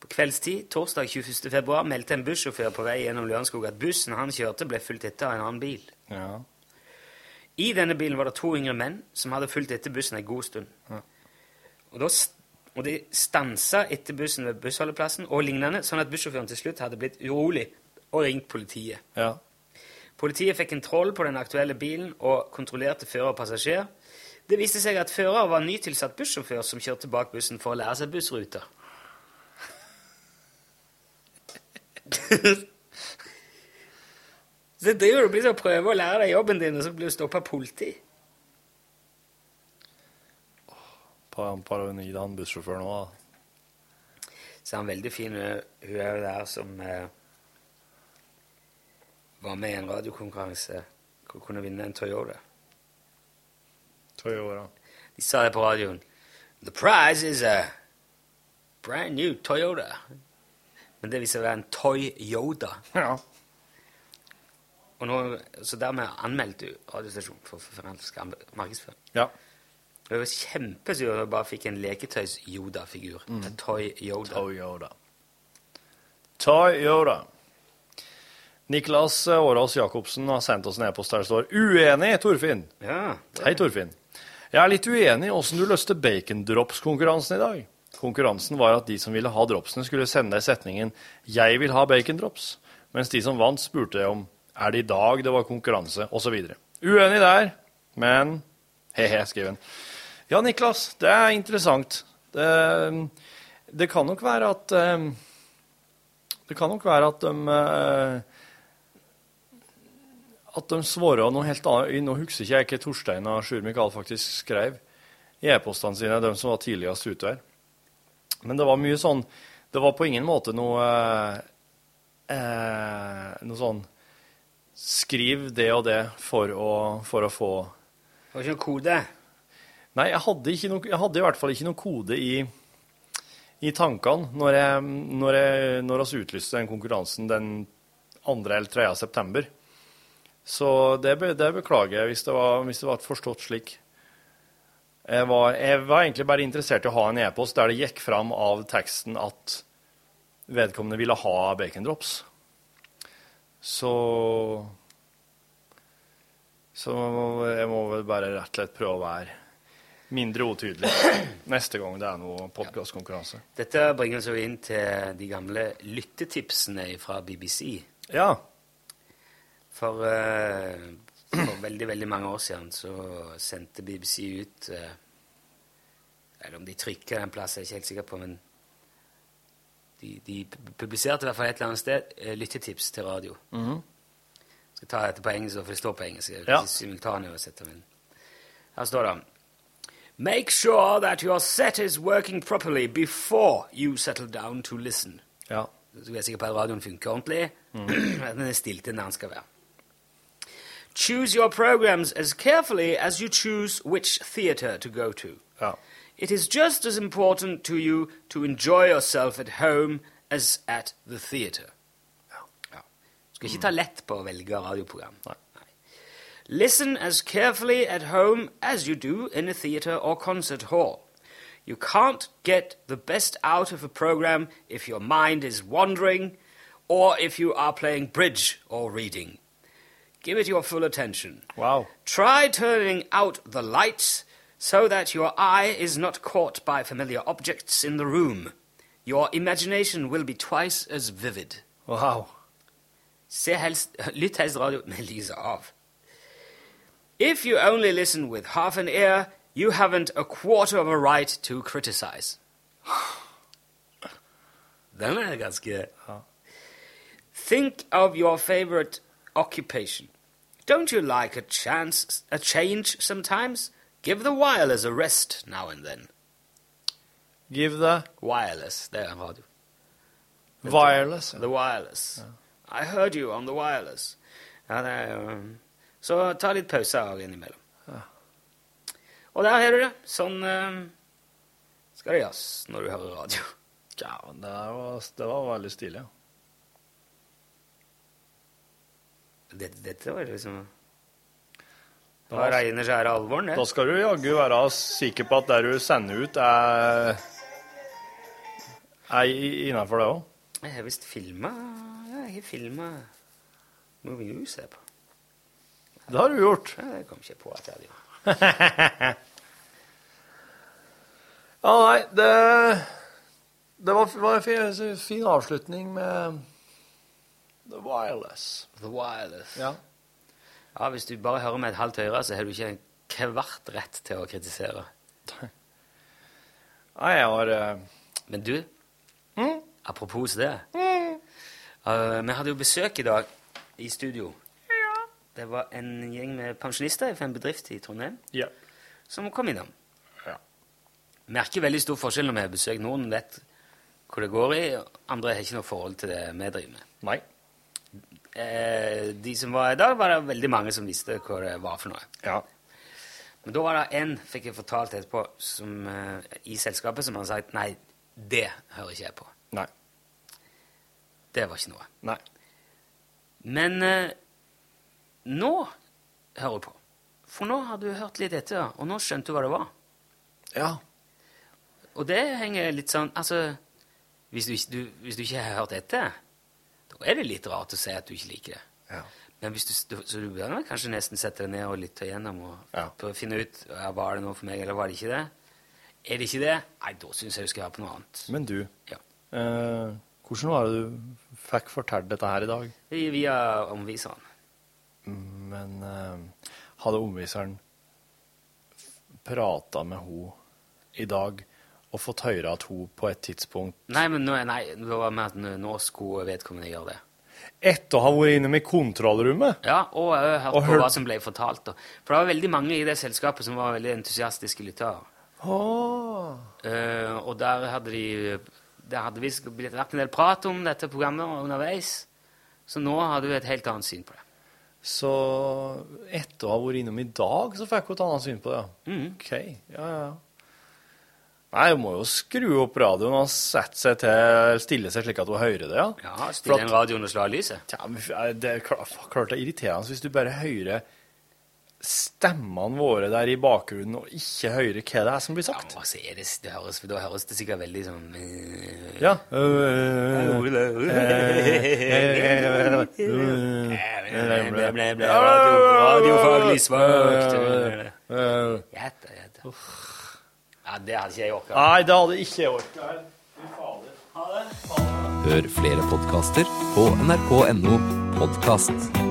Speaker 2: På kveldstid torsdag 21. februar meldte en bussjåfør på vei gjennom Lørenskog at bussen han kjørte, ble fulgt etter av en annen bil.
Speaker 3: Ja.
Speaker 2: I denne bilen var det to yngre menn som hadde fulgt etter bussen en god stund.
Speaker 3: Ja.
Speaker 2: Og, da, st- og de stansa etter bussen ved bussholdeplassen og lignende, sånn at bussjåføren til slutt hadde blitt urolig og ringt politiet.
Speaker 3: Ja.
Speaker 2: Politiet fikk kontroll på den aktuelle bilen og kontrollerte fører og passasjer. Det viste seg at fører var en nytilsatt bussjåfør som kjørte bak bussen for å lære seg bussruter. *laughs* så driver du og blir så prøver å lære deg jobben din, og så blir du stoppa av politi.
Speaker 3: Par- Paranoid han bussjåføren òg, da.
Speaker 2: Så er han veldig fin, hun hun er jo der som eh, var med i en radiokonkurranse hvor hun kunne vinne en Toyota.
Speaker 3: Toyota.
Speaker 2: De sa det på radioen. The prize is a brand new Toyota. Men det viser å være en Toy-Yoda.
Speaker 3: Ja.
Speaker 2: Og nå, så dermed anmeldte hun radiostasjonen for forferdelig skam- markedsføring.
Speaker 3: Ja.
Speaker 2: Og Jeg var kjempesur da jeg bare fikk en leketøys-Yoda-figur.
Speaker 3: Mm.
Speaker 2: En Toy-Yoda.
Speaker 3: Toy-Yoda. Toyota. Niklas eh, Årås Jacobsen har sendt oss en e-post der det står 'Uenig, Torfinn'. Hei, Torfinn. Jeg er litt uenig i åssen du løste bacondrops-konkurransen i dag. Konkurransen var at de som ville ha dropsene, skulle sende deg setningen 'Jeg vil ha bacondrops', mens de som vant, spurte deg om 'Er det i dag det var konkurranse?' osv. Uenig der, men he-he, skriver han. Ja, Niklas, det er interessant. Det, det kan nok være at eh, det kan nok være at de eh, at de svarer noe helt annet. Nå husker ikke jeg hva Torstein og Sjur Mikael faktisk skrev i e-postene sine, de som var tidligst ute her. Men det var mye sånn Det var på ingen måte noe eh, eh, noe sånn Skriv det og det for å, for å få
Speaker 2: Det var ikke noen kode?
Speaker 3: Nei, jeg hadde, ikke noe, jeg hadde i hvert fall ikke noe kode i, i tankene når, jeg, når, jeg, når oss utlyste den konkurransen den 2. eller 3. september. Så det, be- det beklager jeg hvis det, var, hvis det var forstått slik. Jeg var, jeg var egentlig bare interessert i å ha en e-post der det gikk fram av teksten at vedkommende ville ha bacondrops. Så Så jeg må vel bare rett og slett prøve å være mindre utydelig neste gang det er noe podkastkonkurranse.
Speaker 2: Dette bringer oss jo inn til de gamle lyttetipsene fra BBC.
Speaker 3: Ja.
Speaker 2: For, eh, for veldig, veldig mange år siden så sendte BBC ut eh, Eller om de trykket en plass, er jeg ikke helt sikker på, men de, de pu- publiserte i hvert fall et eller annet sted eh, lyttetips til radio. skal ta dette på engelsk, så får det stå på engelsk. Jeg vil
Speaker 13: Ja.
Speaker 2: ikke simultanoversette, men Her står det Make sure that your set is working properly before you settle down to listen.
Speaker 3: Ja.
Speaker 2: Så er jeg sikker på at radioen funker ordentlig. *clears throat* at den er stilt inn der den skal være. Choose your programs as carefully as you choose which theater to go to. It is just as important to you to enjoy yourself at home as at the theater. Skal ikke ta lett på å velge radioprogram. Nei. Listen as carefully at home as you do in a theater or concert hall. You can't get the best out of a program if your mind is wandering or if you are playing bridge or reading. Give it your full attention.
Speaker 3: Wow.
Speaker 2: Try turning out the lights so that your eye is not caught by familiar objects in the room. Your imagination will be twice as vivid.
Speaker 3: Wow.
Speaker 2: Se helst, lytt helst *laughs* radio med lyset av. If you only listen with half an ear, you haven't a quarter of a right to criticize. *sighs* Den er ganske Think of your favorite occupation. Don't you like a chance, a change sometimes? Give the wireless a rest now and then.
Speaker 3: Give the
Speaker 2: wireless. Det er radio.
Speaker 3: Wireless.
Speaker 2: The wireless. I heard you on the wireless. Ja, det er, jo, um, så ta litt pauser av innimellom.
Speaker 3: Ja.
Speaker 2: Og der har du det. Sånn um, skal det gjøres når du hører radio. *laughs*
Speaker 3: Ja, men det var, det var veldig stilig. ja.
Speaker 2: Dette, dette var liksom
Speaker 3: Da-
Speaker 2: Det var reine, skjære alvoren, det.
Speaker 3: Da skal du jaggu være sikker på at det du sender ut, er, er innafor det òg.
Speaker 2: Jeg har visst filma Ja, jeg har filma Moving News her på.
Speaker 3: Det har du gjort.
Speaker 2: Ja, det kom ikke på at jeg hadde gjort.
Speaker 3: Ja, nei, det, det var, var en fin, fin avslutning med The Wireless.
Speaker 2: The Wireless.
Speaker 3: Ja.
Speaker 2: Ja, Hvis du bare hører med et halvt øre, så har du ikke en kvart rett til å kritisere.
Speaker 3: Nei, jeg har eh,
Speaker 2: Men du, apropos det eh, Vi hadde jo besøk i dag i studio. Det var en gjeng med pensjonister fra en bedrift i Trondheim
Speaker 3: Ja.
Speaker 2: som kom innom.
Speaker 3: Ja.
Speaker 2: Merker veldig stor forskjell når vi har besøk. Noen vet hvor det går i. Andre har ikke noe forhold til det vi driver med.
Speaker 3: Nei.
Speaker 2: Eh, de som var der, var det veldig mange som visste hva det var for noe.
Speaker 3: Ja.
Speaker 2: Men da var det en, fikk jeg fortalt etterpå, som, eh, i selskapet som hadde sagt nei, det hører ikke jeg på.
Speaker 3: Nei.
Speaker 2: Det var ikke noe.
Speaker 3: Nei.
Speaker 2: Men eh, nå hører jeg på. For nå har du hørt litt etter, og nå skjønte du hva det var.
Speaker 3: Ja.
Speaker 2: Og det henger litt sånn Altså, hvis du, ikke- du, hvis du ikke har hørt etter, da er det litt rart å si at du ikke liker det.
Speaker 3: Ja.
Speaker 2: Men hvis du, du- så du bør nok kanskje nesten sette deg ned og lytte igjennom og prøve å finne ut ja, var det noe for meg, eller var det ikke det. Er det ikke det? Nei, da syns jeg du skal være på noe annet.
Speaker 3: Men du, eh, hvordan var det du fikk fortalt dette her i dag?
Speaker 2: Vi- Via omviseren.
Speaker 3: Men eh, hadde omviseren prata med henne i dag og fått høre at hun på et tidspunkt
Speaker 2: Nei, men nå, nei, det var med at nå nå skulle vedkommende gjøre det.
Speaker 3: Etter å ha vært innom i kontrollrommet?
Speaker 2: Ja, og jeg har hørt
Speaker 3: Og
Speaker 2: på
Speaker 3: hørt-
Speaker 2: hva som ble fortalt. Da. For det var veldig mange i det selskapet som var veldig entusiastiske lyttere. Eh, og der hadde de Der hadde visst blitt vært en del prat om dette programmet underveis. Så nå har du et helt annet syn på det.
Speaker 3: Så etter å ha vært innom i dag, så fikk hun et annet syn på det. ja. OK. Ja, ja, ja. Nei, hun må jo skru opp radioen og sette seg til, stille seg slik at hun hører det, ja.
Speaker 2: Ja, stille en radio under slaglyset.
Speaker 3: Ja, men f- eh, det er klart, klart det er irriterende hvis du bare hører stemmene våre der i bakgrunnen og ikke hører hva det er som blir sagt.
Speaker 2: Ja, altså, er det, det høres, da høres det sikkert veldig sånn eh,
Speaker 3: Ja.
Speaker 2: Ble, ble, ble, radio, radiofaglig svakt. Gjett, gjett. Ja, det hadde ikke jeg orka.
Speaker 3: *laughs* Nei, det hadde ikke jeg orket.
Speaker 14: Hør flere podkaster på nrk.no podkast.